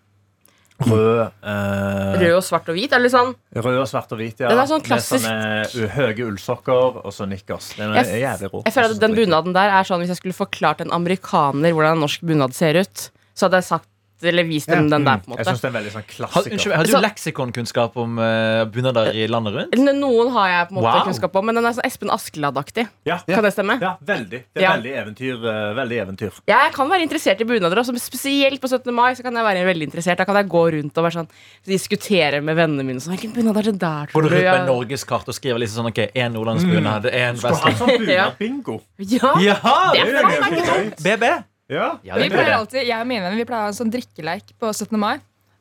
[SPEAKER 2] Rød, eh,
[SPEAKER 8] Rød og svart og hvit? Eller sånn?
[SPEAKER 2] rød og svart og hvit, ja.
[SPEAKER 8] Den er sånn
[SPEAKER 2] Med
[SPEAKER 8] klassisk-
[SPEAKER 2] sånne, eh, høye ullsokker og så nikkers. Den er
[SPEAKER 8] Jeg,
[SPEAKER 2] er jævlig rå.
[SPEAKER 8] jeg føler at den bunaden der er sånn hvis jeg skulle forklart en amerikaner hvordan en norsk bunad ser ut, så hadde jeg sagt eller vist dem den der. på en
[SPEAKER 2] Jeg
[SPEAKER 8] måte
[SPEAKER 2] synes det er en veldig sånn
[SPEAKER 6] Had, unnskyld,
[SPEAKER 2] klassiker.
[SPEAKER 6] hadde du
[SPEAKER 4] Altså-
[SPEAKER 8] Så-
[SPEAKER 6] leksikonkunnskap om eh, bunader i landet rundt?
[SPEAKER 8] Eller Noen har jeg på en måte
[SPEAKER 6] Wow.
[SPEAKER 8] kunnskap om, men den er sånn Espen Askeladd-aktig.
[SPEAKER 2] Ja,
[SPEAKER 8] Kan det stemme?
[SPEAKER 2] ja, veldig. Det er
[SPEAKER 8] Ja.
[SPEAKER 2] veldig eventyr. eh, veldig eventyr.
[SPEAKER 8] Jeg kan være interessert i bunader, også, men spesielt på 17. mai. så kan jeg være veldig interessert Da kan jeg gå rundt og være sånn diskutere med vennene mine. Sånn, Hvilken bunad er det der?
[SPEAKER 6] Går
[SPEAKER 8] tror
[SPEAKER 6] du rundt med
[SPEAKER 8] du?»
[SPEAKER 6] norgeskart og skriver liksom sånn ok, én nordlandsbunad, én
[SPEAKER 2] Skal ha
[SPEAKER 6] vestland
[SPEAKER 2] sånn
[SPEAKER 8] Ja.
[SPEAKER 2] bunad-bingo.
[SPEAKER 8] Ja,
[SPEAKER 6] Jaha!
[SPEAKER 8] Det er
[SPEAKER 2] faen meg gøy.
[SPEAKER 6] BB.
[SPEAKER 2] Ja.
[SPEAKER 6] Ja,
[SPEAKER 4] Vi
[SPEAKER 6] det blir
[SPEAKER 4] pleier
[SPEAKER 6] det.
[SPEAKER 4] alltid, jeg og mine venner, vi pleier å ha en sånn drikkeleik på 17. mai.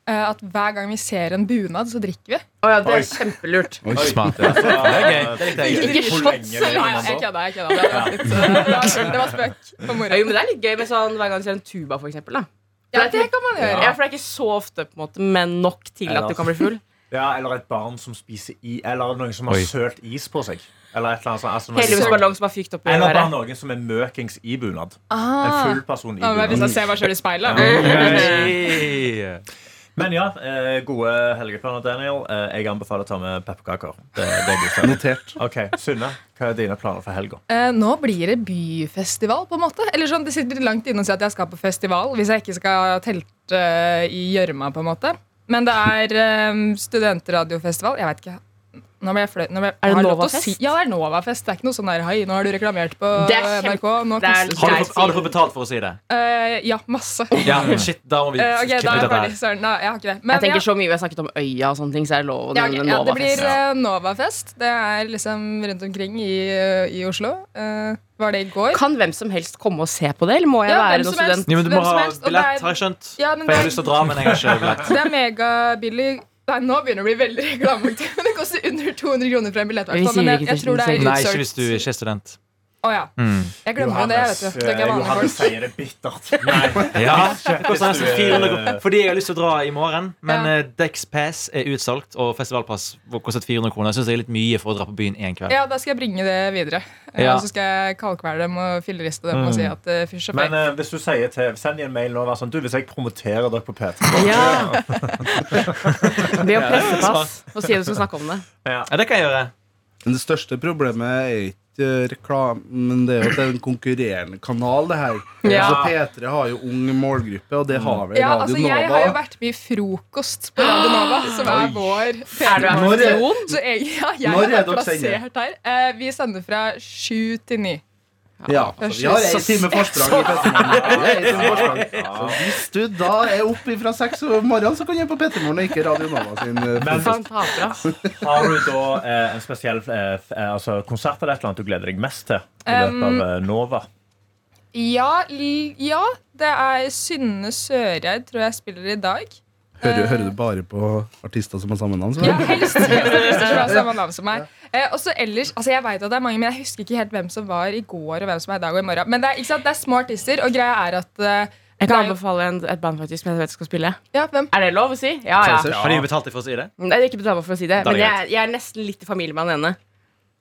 [SPEAKER 4] eh, At hver gang vi ser en bunad, så drikker vi.
[SPEAKER 8] Å ja, det
[SPEAKER 2] Oi.
[SPEAKER 8] er kjempelurt.
[SPEAKER 6] Smart. Ja. Det er gøy. Det likte jeg.
[SPEAKER 8] Ikke
[SPEAKER 2] Hvor
[SPEAKER 8] shots,
[SPEAKER 2] lenge vil man da?
[SPEAKER 4] jeg kødda. jeg kødda. Det var litt, eh, det var- det var spøk. For
[SPEAKER 8] Ja, jo,
[SPEAKER 4] moro.
[SPEAKER 8] men det er litt gøy med sånn hver gang du ser en tuba, for eksempel. Da.
[SPEAKER 4] Ja, det kan man
[SPEAKER 8] Ja.
[SPEAKER 4] gjøre.
[SPEAKER 8] for det er ikke så ofte, på en måte, men nok til at du kan bli full.
[SPEAKER 2] Ja, eller et barn som spiser i Eller noen som har
[SPEAKER 6] Oi.
[SPEAKER 2] sølt is på seg. Eller et eller annet sånt. Altså, noen-
[SPEAKER 8] Heldigvis ballong som har fykt opp i
[SPEAKER 2] Eller bare
[SPEAKER 8] været.
[SPEAKER 2] noen som er møkings i bunad. En
[SPEAKER 4] Ah.
[SPEAKER 2] full person i
[SPEAKER 4] Ja, men Hvis jeg
[SPEAKER 2] bunad.
[SPEAKER 4] ser meg selv i speilet
[SPEAKER 6] Hey.
[SPEAKER 2] Men ja, eh, gode helgeplaner, Daniel. Eh, Jeg anbefaler å ta med pepperkaker. Det, det er godkjent.
[SPEAKER 3] Notert.
[SPEAKER 2] Ok, Synne, hva er dine planer for helga?
[SPEAKER 4] Eh, Nå blir det byfestival, på en måte. Eller sånn, Det sitter litt langt inne å si at jeg skal på festival hvis jeg ikke skal telte eh, i gjørma, på en måte. Men det er eh, studentradiofestival. Jeg veit ikke. Nå ble jeg fløy, nå ble jeg,
[SPEAKER 8] Er det
[SPEAKER 4] har jeg lov til å
[SPEAKER 8] Novafest?
[SPEAKER 4] Si, ja, det er Novafest. Det er ikke noe sånn der hei, nå har du reklamert på
[SPEAKER 8] Det er kjempe-
[SPEAKER 4] NRK. Nå
[SPEAKER 8] det er-
[SPEAKER 4] koster
[SPEAKER 6] Har du fått- har du fått betalt for å si det?
[SPEAKER 4] Eh, Ja, masse.
[SPEAKER 6] Ja, shit, da må vi
[SPEAKER 4] Eh, ok,
[SPEAKER 6] kutte
[SPEAKER 4] da er jeg
[SPEAKER 6] ut dette
[SPEAKER 4] ferdig.
[SPEAKER 6] her.
[SPEAKER 4] Søren, nei, jeg har ikke det. Men
[SPEAKER 8] Jeg
[SPEAKER 4] ja.
[SPEAKER 8] tenker så mye vi har snakket om øya og sånne ting, så er det lov å
[SPEAKER 4] Ja, ok,
[SPEAKER 8] nevne
[SPEAKER 4] ja, det blir
[SPEAKER 8] Novafest.
[SPEAKER 4] eh, Novafest. Det er liksom rundt omkring i, eh, i Oslo. Eh, var det i går?
[SPEAKER 8] Kan hvem som helst komme og se på det, eller må
[SPEAKER 4] Ja,
[SPEAKER 8] jeg
[SPEAKER 4] hvem
[SPEAKER 8] være noen
[SPEAKER 4] som helst.
[SPEAKER 8] student?
[SPEAKER 6] Ja, men du
[SPEAKER 4] Hvem
[SPEAKER 6] må
[SPEAKER 4] som
[SPEAKER 6] ha
[SPEAKER 4] helst, og det
[SPEAKER 6] billett,
[SPEAKER 4] er-
[SPEAKER 6] har jeg skjønt.
[SPEAKER 4] Ja, men
[SPEAKER 6] For jeg har
[SPEAKER 4] det-
[SPEAKER 6] lyst til å dra, men jeg har ikke billett.
[SPEAKER 4] Det er megabillig. Nei, nå begynner det å bli veldig reklameaktig. Men det koster under 200 kroner for en billett.
[SPEAKER 8] Vi
[SPEAKER 4] hvertfall,
[SPEAKER 8] sier
[SPEAKER 4] Men jeg,
[SPEAKER 8] ikke
[SPEAKER 4] jeg tror det er
[SPEAKER 6] Nei,
[SPEAKER 4] utsolgt.
[SPEAKER 6] ikke hvis du ikke er student.
[SPEAKER 4] Å ja.
[SPEAKER 6] Mm.
[SPEAKER 4] Jeg glemmer jo det, vet
[SPEAKER 2] Johannes,
[SPEAKER 4] du. Det er ikke
[SPEAKER 2] eh,
[SPEAKER 4] vanlige
[SPEAKER 2] Johannes
[SPEAKER 4] folk.
[SPEAKER 2] sier det bittert. Nei.
[SPEAKER 6] Ja, koster nesten
[SPEAKER 2] hvis du er-
[SPEAKER 6] 400 kroner. Fordi jeg har lyst til å dra i morgen. Men
[SPEAKER 4] Ja.
[SPEAKER 6] eh, Dex Pass er utsolgt, og festivalpass kostet 400 kroner. Jeg synes det er litt mye for å dra på byen én kveld.
[SPEAKER 4] Ja, da skal jeg bringe det videre. Eh,
[SPEAKER 6] Ja. Mm.
[SPEAKER 4] Og så skal jeg kaldkvele dem og filleriste dem og si at uh, fysj og
[SPEAKER 2] Men
[SPEAKER 4] feil.
[SPEAKER 2] eh, hvis du sier til Send dem en mail nå og vær sånn Du, hvis jeg promoterer dere på P3
[SPEAKER 8] Ja. Be om pressepass og si at du skal snakke om det.
[SPEAKER 6] Ja, det kan jeg gjøre.
[SPEAKER 3] Men det største problemet er ikke ikke reklame, men det er jo at det er en konkurrerende kanal, det her.
[SPEAKER 4] Ja.
[SPEAKER 3] Så P3 har jo ung målgruppe, og det har vel
[SPEAKER 4] Ja,
[SPEAKER 3] Radio
[SPEAKER 4] altså,
[SPEAKER 3] Nova.
[SPEAKER 4] jeg har jo vært mye frokost på Radio Nova, som er vår
[SPEAKER 3] Når er-
[SPEAKER 4] PR-aksjon. Så jeg, ja,
[SPEAKER 3] Når er
[SPEAKER 4] jeg
[SPEAKER 3] dere
[SPEAKER 4] er plassert her. Eh, Vi sender fra sju til ni.
[SPEAKER 3] Ja, altså, vi har en time forsprang i P3morgen. Så hvis du da er oppe fra seks om morgenen, så kan du på P3morgen og ikke Radio Nova sin. eh,
[SPEAKER 2] Men-
[SPEAKER 3] frokost.
[SPEAKER 8] Han taper, ass.
[SPEAKER 2] Har du da eh, en spesiell eh, f- eh, altså, konsert eller et eller annet du gleder deg mest til? I løpet
[SPEAKER 4] Um,
[SPEAKER 2] av eh, Nova
[SPEAKER 4] Ja, l- ja, det er Synne Søreid, tror jeg spiller i dag.
[SPEAKER 3] Hører, hører du bare på artister som har samme navn? så
[SPEAKER 4] Ja,
[SPEAKER 3] vel?
[SPEAKER 4] helst helst som har samme navn som meg. Eh, og så ellers, altså Jeg vet at det er mange, men jeg husker ikke helt hvem som var i går og hvem som er i dag og i morgen. Men det er, ikke sant, det er små artister, og greia er at eh,
[SPEAKER 8] Jeg
[SPEAKER 4] det
[SPEAKER 8] kan
[SPEAKER 4] er jo-
[SPEAKER 8] anbefale en, et band faktisk, men jeg vet ikke skal spille.
[SPEAKER 4] Ja, hvem?
[SPEAKER 8] Er det lov å si? Ja, ja.
[SPEAKER 3] Kaiser.
[SPEAKER 6] Har de betalt deg for å si det?
[SPEAKER 8] Nei, jeg er ikke betalt meg for å si det,
[SPEAKER 6] Da er
[SPEAKER 8] men
[SPEAKER 6] det
[SPEAKER 8] jeg, jeg er nesten litt i familie med han ene.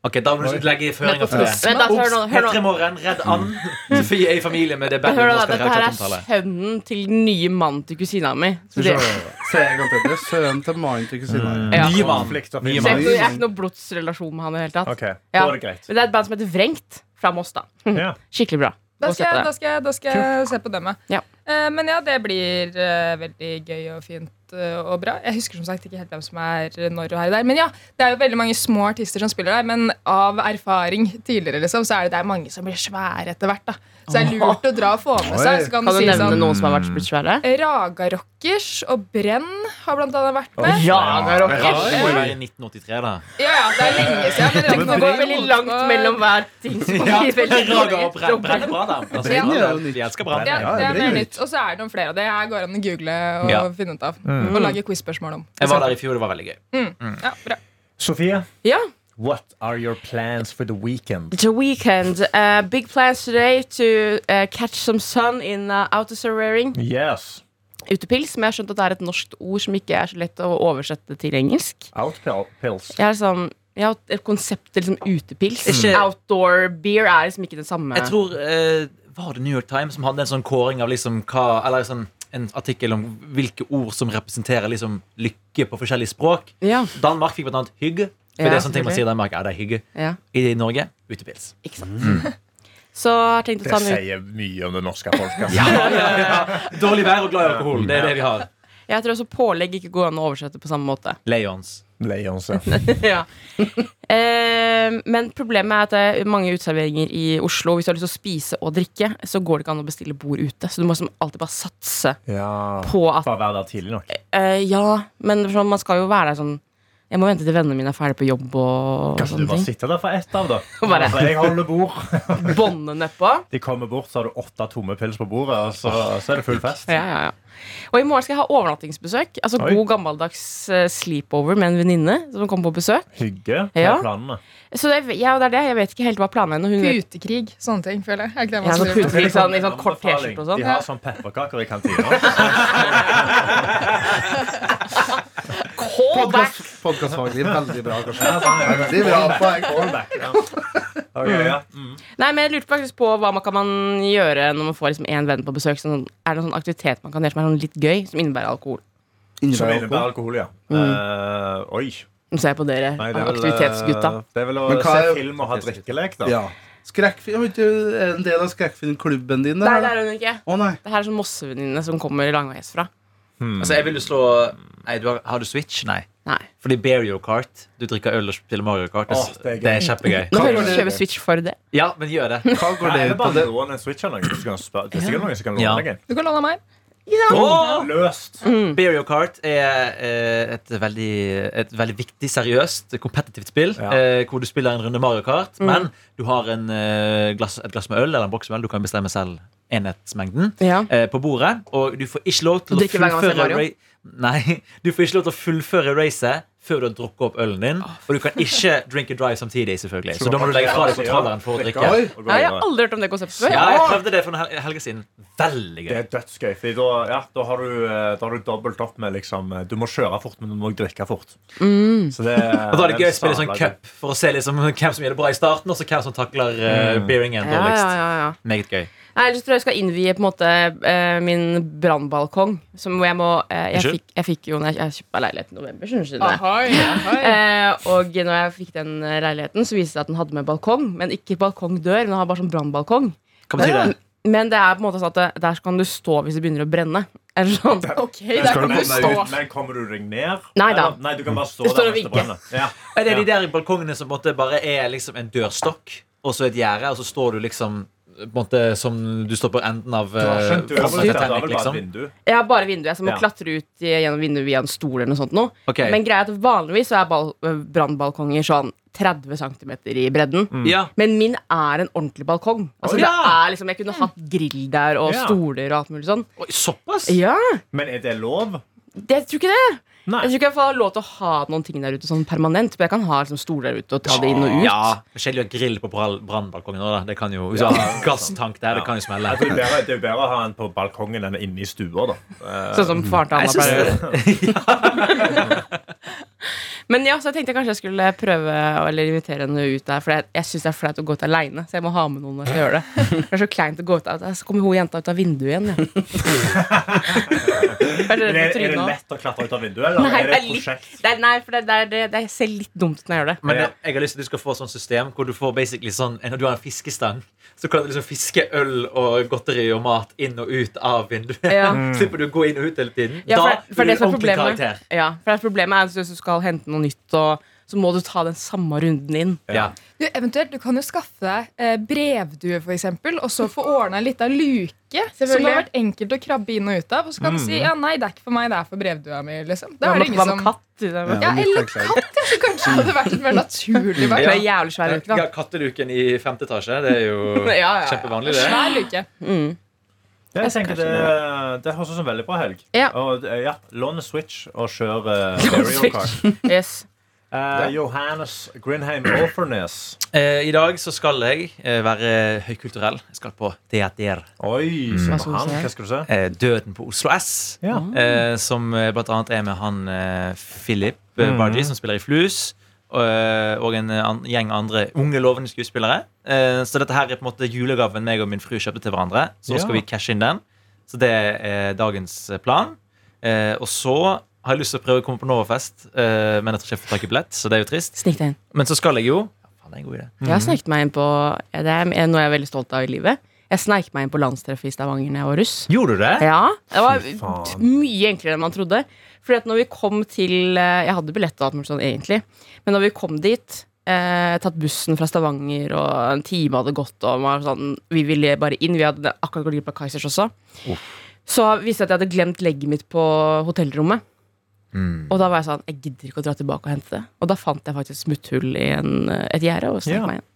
[SPEAKER 6] Ok, Da må du legge føringer for det.
[SPEAKER 8] Men da, hør nå, hør nå.
[SPEAKER 6] P3 Morgen, Redd And. Sofie er i familie med det
[SPEAKER 8] Men
[SPEAKER 6] bandet.
[SPEAKER 8] Hør nå,
[SPEAKER 6] hun
[SPEAKER 8] da,
[SPEAKER 6] skal
[SPEAKER 8] Dette her
[SPEAKER 6] ha
[SPEAKER 8] er
[SPEAKER 6] kjøttomtale.
[SPEAKER 8] sønnen til den nye mannen til kusina mi. Så
[SPEAKER 3] Skal
[SPEAKER 8] det,
[SPEAKER 3] vi se. Se en gang til. Det er sønnen til mannen til kusina.
[SPEAKER 2] Mm.
[SPEAKER 8] ja.
[SPEAKER 6] Ny mann.
[SPEAKER 2] Konflikt og
[SPEAKER 6] Ny
[SPEAKER 8] Så jeg,
[SPEAKER 6] mann.
[SPEAKER 8] er ikke- jeg er ikke noe blodsrelasjon med han i det hele tatt.
[SPEAKER 2] Ok, Da
[SPEAKER 8] Ja.
[SPEAKER 2] er det greit.
[SPEAKER 8] Men det er et band som heter Vrengt, fra Moss, da.
[SPEAKER 2] Ja.
[SPEAKER 8] Skikkelig bra.
[SPEAKER 4] Da
[SPEAKER 8] Gå og se
[SPEAKER 4] skal, jeg, da,
[SPEAKER 8] på det.
[SPEAKER 4] skal jeg, da skal jeg se på dem,
[SPEAKER 8] Ja.
[SPEAKER 4] Eh, men ja, det blir eh, veldig gøy og fint eh, og bra. Jeg husker som sagt ikke helt hvem som er når og her og der. Men ja, det er jo veldig mange små artister som spiller der, men av erfaring tidligere liksom, så er det, det er mange som blir svære etter hvert. da Så det er lurt å dra og få med seg. Så kan,
[SPEAKER 8] Kan du
[SPEAKER 4] du si
[SPEAKER 8] nevne
[SPEAKER 4] sånn
[SPEAKER 8] noen som har vært blitt svære?
[SPEAKER 4] Raga Rockers og Brenn har blant annet vært med.
[SPEAKER 8] Ja,
[SPEAKER 6] Men
[SPEAKER 8] Raga
[SPEAKER 6] Redd må jo være i 1983, da.
[SPEAKER 4] Ja, ja, det er lenge siden. Men det er ikke
[SPEAKER 8] Det
[SPEAKER 4] noe
[SPEAKER 8] går
[SPEAKER 4] å
[SPEAKER 8] veldig
[SPEAKER 4] holde
[SPEAKER 8] langt
[SPEAKER 4] på-
[SPEAKER 8] mellom hver ting. som blir veldig
[SPEAKER 6] Raga og
[SPEAKER 8] dårlig.
[SPEAKER 6] Brenn. Brenn er bra, da. Altså,
[SPEAKER 4] Ja.
[SPEAKER 6] Brann er- Vi elsker Brann.
[SPEAKER 4] Ja,
[SPEAKER 3] Ja,
[SPEAKER 4] det er
[SPEAKER 3] det
[SPEAKER 4] mer
[SPEAKER 3] blir
[SPEAKER 4] nytt. Og så er det noen flere av det her går an å google og
[SPEAKER 6] Ja.
[SPEAKER 4] finne ut av. Og lage quiz-spørsmål om.
[SPEAKER 6] Jeg var der i fjor, det var veldig gøy.
[SPEAKER 4] Ja, bra.
[SPEAKER 2] Sofie,
[SPEAKER 8] Ja.
[SPEAKER 2] what are your plans for the weekend?
[SPEAKER 8] The weekend. Uh, big plans today to uh, catch some sun in uh, outer surreying.
[SPEAKER 2] Yes.
[SPEAKER 8] Utepils, men jeg har skjønt at det er et norsk ord som ikke er så lett å oversette til engelsk.
[SPEAKER 2] Outpills.
[SPEAKER 8] Jeg har, liksom, jeg har et konsept til liksom utepils.
[SPEAKER 6] Ikke-
[SPEAKER 8] Outdoor beer er liksom ikke det samme.
[SPEAKER 6] Jeg tror eh, Var det New York Times som hadde en sånn kåring av liksom hva Eller sånn, en artikkel om hvilke ord som representerer liksom lykke på forskjellige språk.
[SPEAKER 8] ja,
[SPEAKER 6] Danmark fikk blant annet 'hygge'. For
[SPEAKER 8] Ja,
[SPEAKER 6] det er sånne ting man
[SPEAKER 8] selvfølgelig.
[SPEAKER 6] sier i Danmark. Ja, det er hygge.
[SPEAKER 8] ja,
[SPEAKER 6] I Norge utepils.
[SPEAKER 8] ikke sant. Så jeg har tenkt å
[SPEAKER 2] Det
[SPEAKER 8] ta med ut.
[SPEAKER 2] sier mye om det norske folket. altså.
[SPEAKER 6] Dårlig vær og glad i alkohol. Det er det vi har.
[SPEAKER 8] Jeg tror også pålegg ikke går an å oversette på samme måte.
[SPEAKER 6] Leons.
[SPEAKER 2] Leonse.
[SPEAKER 8] ja. eh, men problemet er at det er mange uteserveringer i Oslo. Hvis du har lyst til å spise og drikke, så går det ikke an å bestille bord ute. Så du må liksom alltid bare satse
[SPEAKER 2] Ja.
[SPEAKER 8] på at
[SPEAKER 2] Bare være der tidlig nok.
[SPEAKER 8] eh, Ja, men sånn, man skal jo være der sånn Jeg må vente til vennene mine er ferdige på jobb og, og
[SPEAKER 2] Kanskje du
[SPEAKER 8] sånne
[SPEAKER 2] bare
[SPEAKER 8] ting.
[SPEAKER 2] sitter der for ett av, da.
[SPEAKER 8] Bare-
[SPEAKER 2] Altså, jeg holder bord.
[SPEAKER 8] Bånde nedpå.
[SPEAKER 2] De kommer bort, så har du åtte tomme pils på bordet, og så, så er det full fest.
[SPEAKER 8] Ja, ja, ja. Og i morgen skal jeg ha overnattingsbesøk. Altså
[SPEAKER 2] Oi.
[SPEAKER 8] God gammeldags eh, sleepover med en venninne som kommer på besøk.
[SPEAKER 2] Hygge. Hva
[SPEAKER 8] Ja.
[SPEAKER 2] er planene?
[SPEAKER 8] Så det, er- ja, det er det. Jeg vet ikke helt hva planene er. når Hun vet
[SPEAKER 4] Mm. Putekrig, sånne ting, føler jeg. Er ikke det
[SPEAKER 8] Ja,
[SPEAKER 4] man
[SPEAKER 8] så
[SPEAKER 4] sier?
[SPEAKER 8] pute- Litt sånn- litt sånn kort T-skjorte og sånn.
[SPEAKER 2] De har sånn pepperkaker i kantina. sånn, sånn
[SPEAKER 8] Callback!
[SPEAKER 3] Podkastfaglig veldig bra, kanskje.
[SPEAKER 2] sånn,
[SPEAKER 3] Veldig bra poeng.
[SPEAKER 2] Callback, ja. Ok, ja. Mm.
[SPEAKER 8] Nei, men jeg lurte faktisk på hva man kan man gjøre når man får liksom en venn på besøk. Sånn, er det noen sånn aktivitet man kan gjøre som er sånn litt gøy, som innebærer alkohol?
[SPEAKER 2] Som
[SPEAKER 3] Innebærer
[SPEAKER 2] innebærer
[SPEAKER 3] alkohol.
[SPEAKER 2] alkohol, ja. Eh, oi.
[SPEAKER 8] Nå ser jeg på dere,
[SPEAKER 2] Nei, det er vel,
[SPEAKER 8] Mm. aktivitetsgutta.
[SPEAKER 2] eh, Det er vel å
[SPEAKER 3] Men hva
[SPEAKER 2] se
[SPEAKER 3] er-
[SPEAKER 2] film og ha drikkelek, da.
[SPEAKER 3] Ja. Skrekkfilm, er du en del av skrekkfilmklubben din?
[SPEAKER 8] Nei,
[SPEAKER 3] eller?
[SPEAKER 8] det er hun ikke.
[SPEAKER 3] Å nei.
[SPEAKER 8] Det her er sånn Mossevenninne som kommer langveis fra.
[SPEAKER 2] Hmm.
[SPEAKER 6] Altså, jeg vil jo slå Nei, du har, har du Switch? Nei.
[SPEAKER 8] Nei.
[SPEAKER 6] Fordi Bear Your Kart. Du drikker øl og spiller Mario Kart. Det,
[SPEAKER 2] Åh, det er gøy.
[SPEAKER 6] det er kjempegøy.
[SPEAKER 8] Nå
[SPEAKER 3] Hva
[SPEAKER 8] hører du
[SPEAKER 3] går det-
[SPEAKER 8] kjøpe Switch for det.
[SPEAKER 6] Ja, men gjør det.
[SPEAKER 3] Hva går
[SPEAKER 2] Nei,
[SPEAKER 3] det
[SPEAKER 2] det er
[SPEAKER 3] ut på? Det?
[SPEAKER 2] bare noen en switch eller noe. så kan du spørre- Det er sikkert noen som kan
[SPEAKER 6] Ja.
[SPEAKER 2] låne deg en.
[SPEAKER 4] Du kan låne av meg.
[SPEAKER 6] Åh!
[SPEAKER 2] Løst.
[SPEAKER 8] Mm.
[SPEAKER 6] Bear Your Cart er eh, et veldig, et veldig viktig, seriøst, kompetitivt spill.
[SPEAKER 2] Ja.
[SPEAKER 6] eh, Hvor du spiller en runde Mario Kart,
[SPEAKER 8] Mm.
[SPEAKER 6] men du har en, eh, glass, et glass med øl eller en boks med øl. Du kan bestemme selv enhetsmengden
[SPEAKER 8] Ja.
[SPEAKER 6] eh, på bordet. Og du får ikke lov til å
[SPEAKER 8] Drikke hver gang man ser
[SPEAKER 6] fullføre
[SPEAKER 8] Mario.
[SPEAKER 6] ra- Nei, du får ikke lov til å fullføre racet før du har drukket opp ølen din. Og du kan ikke drink and drive samtidig, selvfølgelig. Så da må du legge fra deg kontrolleren for å drikke.
[SPEAKER 3] Oi.
[SPEAKER 2] Og gå
[SPEAKER 8] Nei, jeg har
[SPEAKER 2] videre.
[SPEAKER 8] aldri hørt om det konseptet før.
[SPEAKER 6] Ja, jeg prøvde det for en hel helge siden. Veldig
[SPEAKER 2] Det
[SPEAKER 6] gøy.
[SPEAKER 2] er dødsgøy. Fordi da, ja, da, har du, eh, da har du dobbelt opp med liksom eh, Du må kjøre fort, men du må også drikke fort.
[SPEAKER 6] Mm.
[SPEAKER 2] Så det,
[SPEAKER 6] Og da er det gøy å spille
[SPEAKER 2] en
[SPEAKER 6] sånn
[SPEAKER 2] sabla-
[SPEAKER 6] cup
[SPEAKER 2] Mm.
[SPEAKER 6] for å se liksom hvem som gjør det bra i starten, og så hvem som takler uh, bearingen
[SPEAKER 8] Ja, ja,
[SPEAKER 6] dårligst.
[SPEAKER 8] ja, ja.
[SPEAKER 6] Meget gøy.
[SPEAKER 8] Nei, Ellers tror jeg jeg skal innvie på en måte eh, min brannbalkong. Som hvor jeg må eh, jeg,
[SPEAKER 6] Unnskyld?
[SPEAKER 8] fikk, jeg fikk jo når jeg, jeg kjøpte meg leilighet i november. skjønner du det?
[SPEAKER 4] Ahoi, ahoi.
[SPEAKER 8] Eh, og når jeg fikk den eh, leiligheten, så viste det seg at den hadde med balkong. Men ikke balkongdør, men den har bare sånn brannbalkong.
[SPEAKER 6] Hva betyr det?
[SPEAKER 8] Men det er på en måte sånn at det- der kan du stå hvis det begynner å brenne. Eller sånn.
[SPEAKER 4] Ok, der kan du
[SPEAKER 2] Men-
[SPEAKER 4] stå.
[SPEAKER 2] Men kommer du deg ned?
[SPEAKER 8] Nei da.
[SPEAKER 2] Eller- Nei, du kan bare stå
[SPEAKER 8] Du står
[SPEAKER 2] der
[SPEAKER 8] og
[SPEAKER 2] mens det
[SPEAKER 8] vinker.
[SPEAKER 2] brenner. Ja.
[SPEAKER 6] Er det de der balkongene som på en måte bare er liksom en dørstokk og så et gjerde, og så står du liksom på en måte som du står på enden av
[SPEAKER 2] Du har
[SPEAKER 6] eh,
[SPEAKER 2] skjønt, du er
[SPEAKER 6] framfor
[SPEAKER 2] vel bare
[SPEAKER 6] Titanic,
[SPEAKER 2] et
[SPEAKER 6] liksom?
[SPEAKER 2] vindu.
[SPEAKER 8] Jeg har bare vinduet, så jeg må
[SPEAKER 2] Ja.
[SPEAKER 8] klatre ut i- gjennom vinduet via en stol eller noe sånt. Nå.
[SPEAKER 6] Ok.
[SPEAKER 8] Men greia er at vanligvis så er bal- brannbalkonger sånn 30 cm i bredden.
[SPEAKER 6] Ja.
[SPEAKER 8] Men min er en ordentlig balkong. Altså,
[SPEAKER 2] Oi.
[SPEAKER 8] det
[SPEAKER 2] Ja.
[SPEAKER 8] er liksom, jeg kunne hatt grill der og
[SPEAKER 2] Ja.
[SPEAKER 8] stoler og alt mulig sånn.
[SPEAKER 6] Oi, såpass?
[SPEAKER 8] Ja,
[SPEAKER 2] Men er det lov?
[SPEAKER 8] det, Jeg tror ikke det.
[SPEAKER 2] Nei.
[SPEAKER 8] Jeg tror ikke jeg får lov til å ha noen ting der ute sånn permanent. Men jeg kan ha liksom, stoler der ute og ta det inn og ut.
[SPEAKER 6] Ja, det er Kjedelig å ha grill på brall- brannbalkongen òg, da. Det kan jo, hvis du har en gasstank der, det kan jo smelle.
[SPEAKER 2] Jeg tror det er bedre- det er jo bedre å ha den på balkongen enn inne i stua, da. Eh,
[SPEAKER 8] Sånn som faren til Anna
[SPEAKER 6] Jeg synes
[SPEAKER 8] pleier å gjøre. Men ja, så jeg tenkte kanskje jeg skulle prøve å- eller invitere henne ut der. For jeg, jeg syns det er flaut å gå ut aleine, så jeg må ha med noen. når jeg skal gjøre Det Det er så kleint å gå ut der. Så kommer hun jenta ut av vinduet igjen. Ja. Jeg er
[SPEAKER 2] men er, er
[SPEAKER 8] redd for
[SPEAKER 2] det
[SPEAKER 8] trynet også.
[SPEAKER 2] lett å klatre ut av vinduet, eller
[SPEAKER 8] Nei,
[SPEAKER 2] er det
[SPEAKER 8] jeg
[SPEAKER 2] et
[SPEAKER 8] lik-
[SPEAKER 2] prosjekt?
[SPEAKER 8] Det er- Nei, for det, det, er- det, det ser litt dumt ut når jeg gjør det.
[SPEAKER 6] Men
[SPEAKER 2] Ja.
[SPEAKER 6] jeg- jeg har lyst til at du skal få et sånt system hvor du får basically sånn Når du har en fiskestang, så kan du liksom fiske øl og godteri og mat inn og ut av vinduet.
[SPEAKER 8] Ja.
[SPEAKER 6] Slipper du å gå inn og ut hele tiden.
[SPEAKER 8] Ja, for,
[SPEAKER 6] da
[SPEAKER 8] for
[SPEAKER 6] blir du
[SPEAKER 8] det som er
[SPEAKER 6] en ordentlig
[SPEAKER 8] problemet
[SPEAKER 6] karakter.
[SPEAKER 8] Ja, for det er problemet er at hvis du skal hente noe nytt, og, så må du ta den samme runden inn.
[SPEAKER 6] Ja.
[SPEAKER 4] Du, eventuelt, du kan jo skaffe deg eh, brevdue, for eksempel, og så få ordna ei lita luke som det har vært enkelt å krabbe inn og ut av. Og så kan du si ja, nei, det er ikke for meg, det er for brevdua mi. Liksom. Da
[SPEAKER 8] Hva
[SPEAKER 4] er det
[SPEAKER 8] med,
[SPEAKER 4] ingen
[SPEAKER 8] Mm. hva med
[SPEAKER 4] som
[SPEAKER 8] katt? liksom? Ja.
[SPEAKER 4] Ja,
[SPEAKER 3] litt
[SPEAKER 4] eller
[SPEAKER 3] fleksibel.
[SPEAKER 4] katt, ja, så kanskje hadde vært et mer naturlig
[SPEAKER 8] Det
[SPEAKER 4] valg.
[SPEAKER 8] er jævlig svær luke, da.
[SPEAKER 6] Ja, katteluken i femte etasje, det er jo
[SPEAKER 8] Ja, ja, ja.
[SPEAKER 6] kjempevanlig, det.
[SPEAKER 4] Svær luke.
[SPEAKER 2] Ja, jeg tenker det, det høres ut som veldig bra helg.
[SPEAKER 8] Ja.
[SPEAKER 2] Og, eh, ja, lån en Switch og kjør uh, Mario Kart.
[SPEAKER 8] Yes.
[SPEAKER 2] Eh, Johannes Grindheim Offernes.
[SPEAKER 6] Eh, I dag så skal jeg eh, være høykulturell. Jeg skal på teater.
[SPEAKER 2] Oi, se på
[SPEAKER 8] Mm. Hva skal du
[SPEAKER 2] han.
[SPEAKER 8] si?
[SPEAKER 2] Hva skal du se?
[SPEAKER 6] Eh, Døden på Oslo S.
[SPEAKER 2] Ja.
[SPEAKER 6] Eh, som eh, blant annet er med han eh, Philip eh,
[SPEAKER 2] Mhm.
[SPEAKER 6] Bargy, som spiller i Flus. Og, eh, og en eh, an gjeng andre unge, lovende skuespillere. Eh, så dette her er på en måte julegaven meg og min fru kjøpte til hverandre. Så
[SPEAKER 2] Ja.
[SPEAKER 6] skal vi cashe inn den. Så det er dagens eh, plan. Eh, og så har jeg lyst til å prøve å komme på Novafest, eh, men jeg tror ikke jeg får tak i billett. Så det er jo trist.
[SPEAKER 8] Snik deg inn.
[SPEAKER 6] Men så skal jeg jo ja, faen, det er en god idé.
[SPEAKER 8] Jeg
[SPEAKER 2] Mhm.
[SPEAKER 8] har sneket meg inn på ja, Det er noe jeg er veldig stolt av i livet. Jeg sneik meg inn på landstreffet i Stavanger da jeg var russ.
[SPEAKER 6] Gjorde du det?
[SPEAKER 8] Ja, Det var
[SPEAKER 2] Fy faen.
[SPEAKER 8] t- mye enklere enn man trodde. Fordi at når vi kom til eh, Jeg hadde billett og alt mulig sånn, egentlig. Men når vi kom dit Eh, tatt bussen fra Stavanger, og en time hadde gått. Og man var sånn, vi ville bare inn. Vi hadde akkurat gått glipp av Kaizers også. Så viste det at jeg hadde glemt legget mitt på hotellrommet.
[SPEAKER 6] Mm,
[SPEAKER 8] Og da var jeg sånn Jeg gidder ikke å dra tilbake og hente det. Og da fant jeg faktisk smutthull i en, eh, et gjerde. Og snek
[SPEAKER 2] Ja.
[SPEAKER 8] meg inn.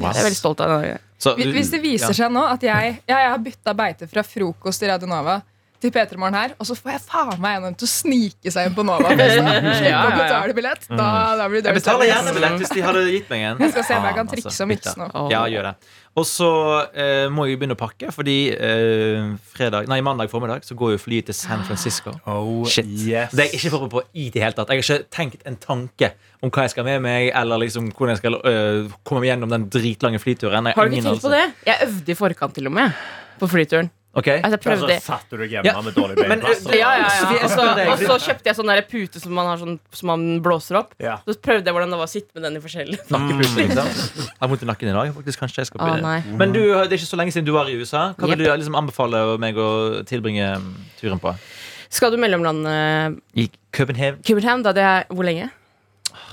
[SPEAKER 8] Jeg er veldig stolt av det.
[SPEAKER 6] Så-
[SPEAKER 4] Hvis- Hvis det viser seg nå at jeg, ja, jeg har bytta beite fra frokost i Radio Nova til P3 Morgen her, og så får jeg faen meg en av dem til å snike seg inn på Nova.
[SPEAKER 8] Ja, ja, ja.
[SPEAKER 4] Betalebillett. Da, da blir det
[SPEAKER 6] Jeg
[SPEAKER 4] dårlig
[SPEAKER 6] betaler
[SPEAKER 4] stemning.
[SPEAKER 6] gjerne billett hvis de hadde gitt meg en.
[SPEAKER 4] Jeg skal se om jeg kan
[SPEAKER 6] Faen,
[SPEAKER 4] trikse
[SPEAKER 6] altså.
[SPEAKER 4] og mikse nå.
[SPEAKER 6] Bitte. Ja, gjør det. Og så eh, må jeg jo begynne å pakke, fordi eh, fredag, nei, mandag formiddag så går jo flyet til San Francisco.
[SPEAKER 2] Oh,
[SPEAKER 6] Shit.
[SPEAKER 2] yes.
[SPEAKER 6] Det er jeg ikke forberedt på i det hele tatt. Jeg har ikke tenkt en tanke om hva jeg skal med meg, eller liksom hvordan jeg skal eh, komme meg gjennom den dritlange flyturen. Jeg
[SPEAKER 8] Har du ikke
[SPEAKER 6] ingen
[SPEAKER 8] tenkt på
[SPEAKER 6] anelse.
[SPEAKER 8] det? Jeg øvde i forkant til og med på flyturen.
[SPEAKER 6] Ok.
[SPEAKER 8] Altså, jeg
[SPEAKER 2] Altså,
[SPEAKER 8] prøvde eh,
[SPEAKER 2] satt du deg hjemme
[SPEAKER 6] Ja.
[SPEAKER 2] med dårlig altså. beinplass?
[SPEAKER 8] ja, ja, ja.
[SPEAKER 6] Sofie, jeg
[SPEAKER 8] Og så,
[SPEAKER 6] spør deg.
[SPEAKER 8] og så kjøpte jeg sånn der pute som man, har sånn, som man blåser opp.
[SPEAKER 2] Ja.
[SPEAKER 8] Så prøvde jeg hvordan det var å sitte med den i forskjellige
[SPEAKER 6] Nakkepute, liksom. Jeg har vondt i nakken i dag. faktisk kanskje jeg skal
[SPEAKER 8] Å,
[SPEAKER 6] bli-
[SPEAKER 8] nei.
[SPEAKER 6] Men du, det er ikke så lenge siden du var i USA. Hva vil
[SPEAKER 8] Jep.
[SPEAKER 6] du liksom anbefale meg å tilbringe turen på?
[SPEAKER 8] Skal du mellomlande
[SPEAKER 6] I København?
[SPEAKER 8] Cubertown? Da hadde jeg Hvor lenge?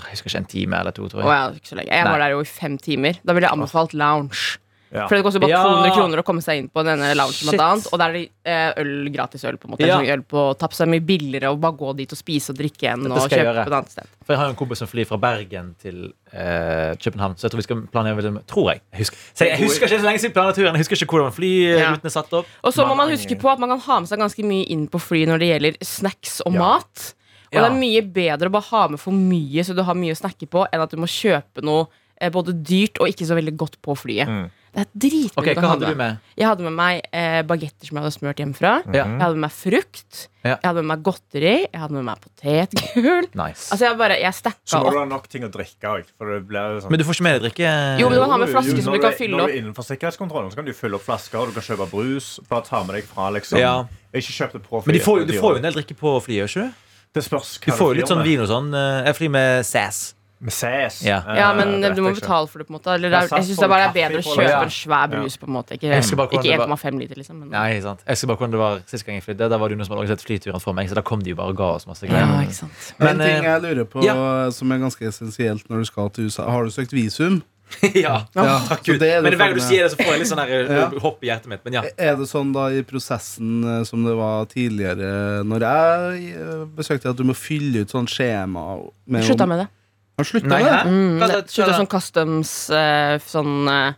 [SPEAKER 6] Jeg husker ikke en time eller to, tror jeg.
[SPEAKER 8] Å ja, ikke så lenge. Jeg var
[SPEAKER 6] Nei.
[SPEAKER 8] der jo i fem timer. Da ville jeg anbefalt lounge.
[SPEAKER 2] Ja.
[SPEAKER 8] For det koster bare
[SPEAKER 6] Ja.
[SPEAKER 8] 200 kroner å komme seg inn på denne loungen,
[SPEAKER 6] Shit.
[SPEAKER 8] blant annet. Og der er det eh, øl, gratis øl, på en måte.
[SPEAKER 6] Ja.
[SPEAKER 8] Sånn Øl på tapp, så det er mye billigere å bare gå dit og spise og drikke enn
[SPEAKER 6] Dette
[SPEAKER 8] å
[SPEAKER 6] skal jeg
[SPEAKER 8] kjøpe
[SPEAKER 6] gjøre.
[SPEAKER 8] på et annet sted.
[SPEAKER 6] For jeg har jo en kompis som flyr fra Bergen til eh, København. Så jeg tror vi skal planlegge det med Tror jeg. Jeg husker, så jeg husker ikke så lenge siden jeg planla turen. Jeg husker ikke hvordan flyrutene er satt opp.
[SPEAKER 8] Og så må
[SPEAKER 2] Man
[SPEAKER 8] man
[SPEAKER 2] er
[SPEAKER 8] huske
[SPEAKER 2] ingen-
[SPEAKER 8] på at man kan ha med seg ganske mye inn på fly når det gjelder snacks og
[SPEAKER 2] Ja.
[SPEAKER 8] mat. Og
[SPEAKER 6] Ja.
[SPEAKER 8] det er mye bedre å bare ha med for mye så du har mye å snakke på, enn at du må kjøpe noe eh, både dyrt og ikke så veldig godt på flyet.
[SPEAKER 2] Mm.
[SPEAKER 8] Det Det er dritmye
[SPEAKER 6] Ok, Hva
[SPEAKER 8] du kan
[SPEAKER 6] hadde
[SPEAKER 8] handle.
[SPEAKER 6] du med?
[SPEAKER 8] Jeg hadde med meg eh, bagetter som jeg hadde smurt hjemmefra.
[SPEAKER 6] Ja.
[SPEAKER 8] Jeg hadde med meg frukt.
[SPEAKER 6] Ja.
[SPEAKER 8] Jeg hadde med meg godteri. Jeg hadde med meg potetgull.
[SPEAKER 6] Nice.
[SPEAKER 8] Altså, jeg bare, jeg
[SPEAKER 2] Så
[SPEAKER 8] stacka
[SPEAKER 2] må du
[SPEAKER 8] opp.
[SPEAKER 2] ha nok ting å drikke òg. Sånn. Oh,
[SPEAKER 6] Men du får ikke med deg drikke? eh,
[SPEAKER 8] Jo, men du kan ha med flaske
[SPEAKER 2] Jo,
[SPEAKER 8] som
[SPEAKER 2] når
[SPEAKER 8] du kan
[SPEAKER 2] er-
[SPEAKER 8] fylle
[SPEAKER 2] Når
[SPEAKER 8] opp.
[SPEAKER 2] du er innenfor sikkerhetskontrollen, så kan du fylle opp flasker, og du kan kjøpe brus. Bare ta med deg fra, liksom.
[SPEAKER 6] Ja.
[SPEAKER 2] Ikke kjøp det på flyet.
[SPEAKER 6] Men de får, jo- du
[SPEAKER 2] dyrt.
[SPEAKER 6] får jo en del drikke på flyet, gjør ikke du?
[SPEAKER 2] Det spørs
[SPEAKER 6] Du
[SPEAKER 2] hva
[SPEAKER 6] får jo litt
[SPEAKER 2] flyr
[SPEAKER 6] sånn
[SPEAKER 2] med.
[SPEAKER 6] vin og sånn. Eh, Jeg flyr med SAS.
[SPEAKER 2] Med CS.
[SPEAKER 6] Ja.
[SPEAKER 2] Eh,
[SPEAKER 8] Ja,
[SPEAKER 2] det
[SPEAKER 8] men
[SPEAKER 2] vet
[SPEAKER 8] du må
[SPEAKER 2] jeg ikke.
[SPEAKER 8] betale for det, på en måte. Eller,
[SPEAKER 2] Ja,
[SPEAKER 8] det er- jeg
[SPEAKER 2] sats
[SPEAKER 8] syns
[SPEAKER 2] får
[SPEAKER 8] det bare er
[SPEAKER 2] kaffe
[SPEAKER 8] bedre å
[SPEAKER 2] på det,
[SPEAKER 8] kjøpe
[SPEAKER 6] ja.
[SPEAKER 8] en svær brus, på en måte. Ikke,
[SPEAKER 6] Jeg husker bare hvordan
[SPEAKER 8] ikke
[SPEAKER 6] det var-
[SPEAKER 8] 1,5 liter, liksom. Men,
[SPEAKER 6] Nei, sant. Jeg husker bare hvordan det var sist gang jeg flydde. Da var det jo noen som hadde organisert flyturen for meg, så da kom de jo bare og ga oss masse
[SPEAKER 8] ja,
[SPEAKER 6] greier.
[SPEAKER 8] ikke sant.
[SPEAKER 6] Men,
[SPEAKER 3] en ting
[SPEAKER 6] eh,
[SPEAKER 3] jeg lurer på som er ganske essensielt når du skal til USA. Har du søkt visum?
[SPEAKER 6] ja.
[SPEAKER 3] Ja,
[SPEAKER 6] Takk
[SPEAKER 3] så
[SPEAKER 6] Gud.
[SPEAKER 3] det er
[SPEAKER 6] men
[SPEAKER 3] det
[SPEAKER 6] hver gang du
[SPEAKER 3] samme.
[SPEAKER 6] sier det, så får jeg litt sånn der, eh,
[SPEAKER 3] Ja.
[SPEAKER 6] hopp i hjertet mitt. Men ja.
[SPEAKER 3] Er det sånn da i prosessen eh, som det var tidligere, når jeg eh, besøkte, at du må fylle ut sånn skjema med
[SPEAKER 8] Slutta med det.
[SPEAKER 3] Har du slutta
[SPEAKER 6] Nei,
[SPEAKER 3] med det?
[SPEAKER 6] hæ?
[SPEAKER 8] Mm,
[SPEAKER 6] Hva da?
[SPEAKER 8] Slutta sånn customs eh, sånn eh,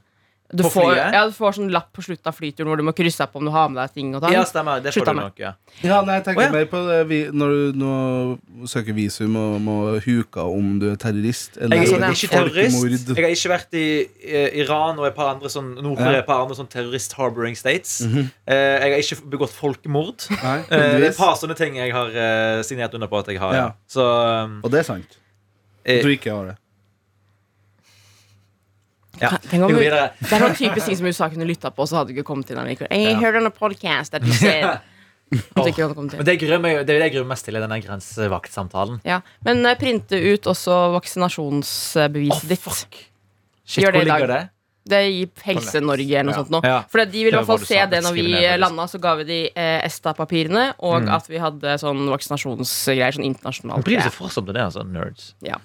[SPEAKER 8] du
[SPEAKER 6] På
[SPEAKER 8] får,
[SPEAKER 6] flyet?
[SPEAKER 8] ja, du får sånn lapp på slutten av flyturen hvor du må krysse opp om du har med deg ting og tang.
[SPEAKER 6] ja, stemmer. Det får
[SPEAKER 8] Slutta
[SPEAKER 6] du
[SPEAKER 8] Sånn? med.
[SPEAKER 6] nok. Ja.
[SPEAKER 3] Ja, nei, jeg tenker
[SPEAKER 6] Å, ja.
[SPEAKER 3] mer på det vi, når du nå søker visum og må huke om du er terrorist. Eller
[SPEAKER 6] Jeg
[SPEAKER 3] sånn
[SPEAKER 6] er ikke terrorist.
[SPEAKER 3] folkemord.
[SPEAKER 6] Jeg har ikke vært i eh, Iran og et par andre sånn, Nord-Korea, et par andre sånn terrorist harboring states. Eh, jeg har ikke begått folkemord.
[SPEAKER 3] Nei,
[SPEAKER 6] Eh, det er et
[SPEAKER 3] Mhm. heldigvis.
[SPEAKER 6] par sånne ting jeg har eh, signert under på at jeg har.
[SPEAKER 3] Ja.
[SPEAKER 6] Så um,
[SPEAKER 3] Og det er sant.
[SPEAKER 6] eh,
[SPEAKER 3] At du ikke har det.
[SPEAKER 6] ja.
[SPEAKER 8] Tenk om
[SPEAKER 6] Vi går
[SPEAKER 8] vi-
[SPEAKER 6] videre.
[SPEAKER 8] Det er sånn typisk ting som USA kunne lytta på, og så hadde du ikke kommet til den likevel. Hey, heard on a podcast that you said. At du ikke hadde kommet
[SPEAKER 6] Men
[SPEAKER 8] til.
[SPEAKER 6] det jeg gruer meg det er det jeg gruer meg mest til, er denne grensevaktsamtalen.
[SPEAKER 8] Ja. Men eh, printe ut også vaksinasjonsbeviset ditt.
[SPEAKER 6] Shit,
[SPEAKER 8] Gjør det
[SPEAKER 6] hvor
[SPEAKER 8] i dag.
[SPEAKER 6] ligger det?
[SPEAKER 8] Det er i Helse-Norge eller noe sånt nå.
[SPEAKER 6] Ja.
[SPEAKER 8] For de vil i
[SPEAKER 6] Det
[SPEAKER 8] hvert fall
[SPEAKER 6] var sånn det du
[SPEAKER 8] se
[SPEAKER 6] sa,
[SPEAKER 8] det når vi
[SPEAKER 6] skriv ned, faktisk.
[SPEAKER 8] landa, så ga vi de eh, ESTA-papirene, og
[SPEAKER 6] Mm.
[SPEAKER 8] at vi hadde sånn vaksinasjonsgreier sånn internasjonalt.
[SPEAKER 6] Bryr de seg fortsatt om det, altså? Nerds.
[SPEAKER 8] Ja.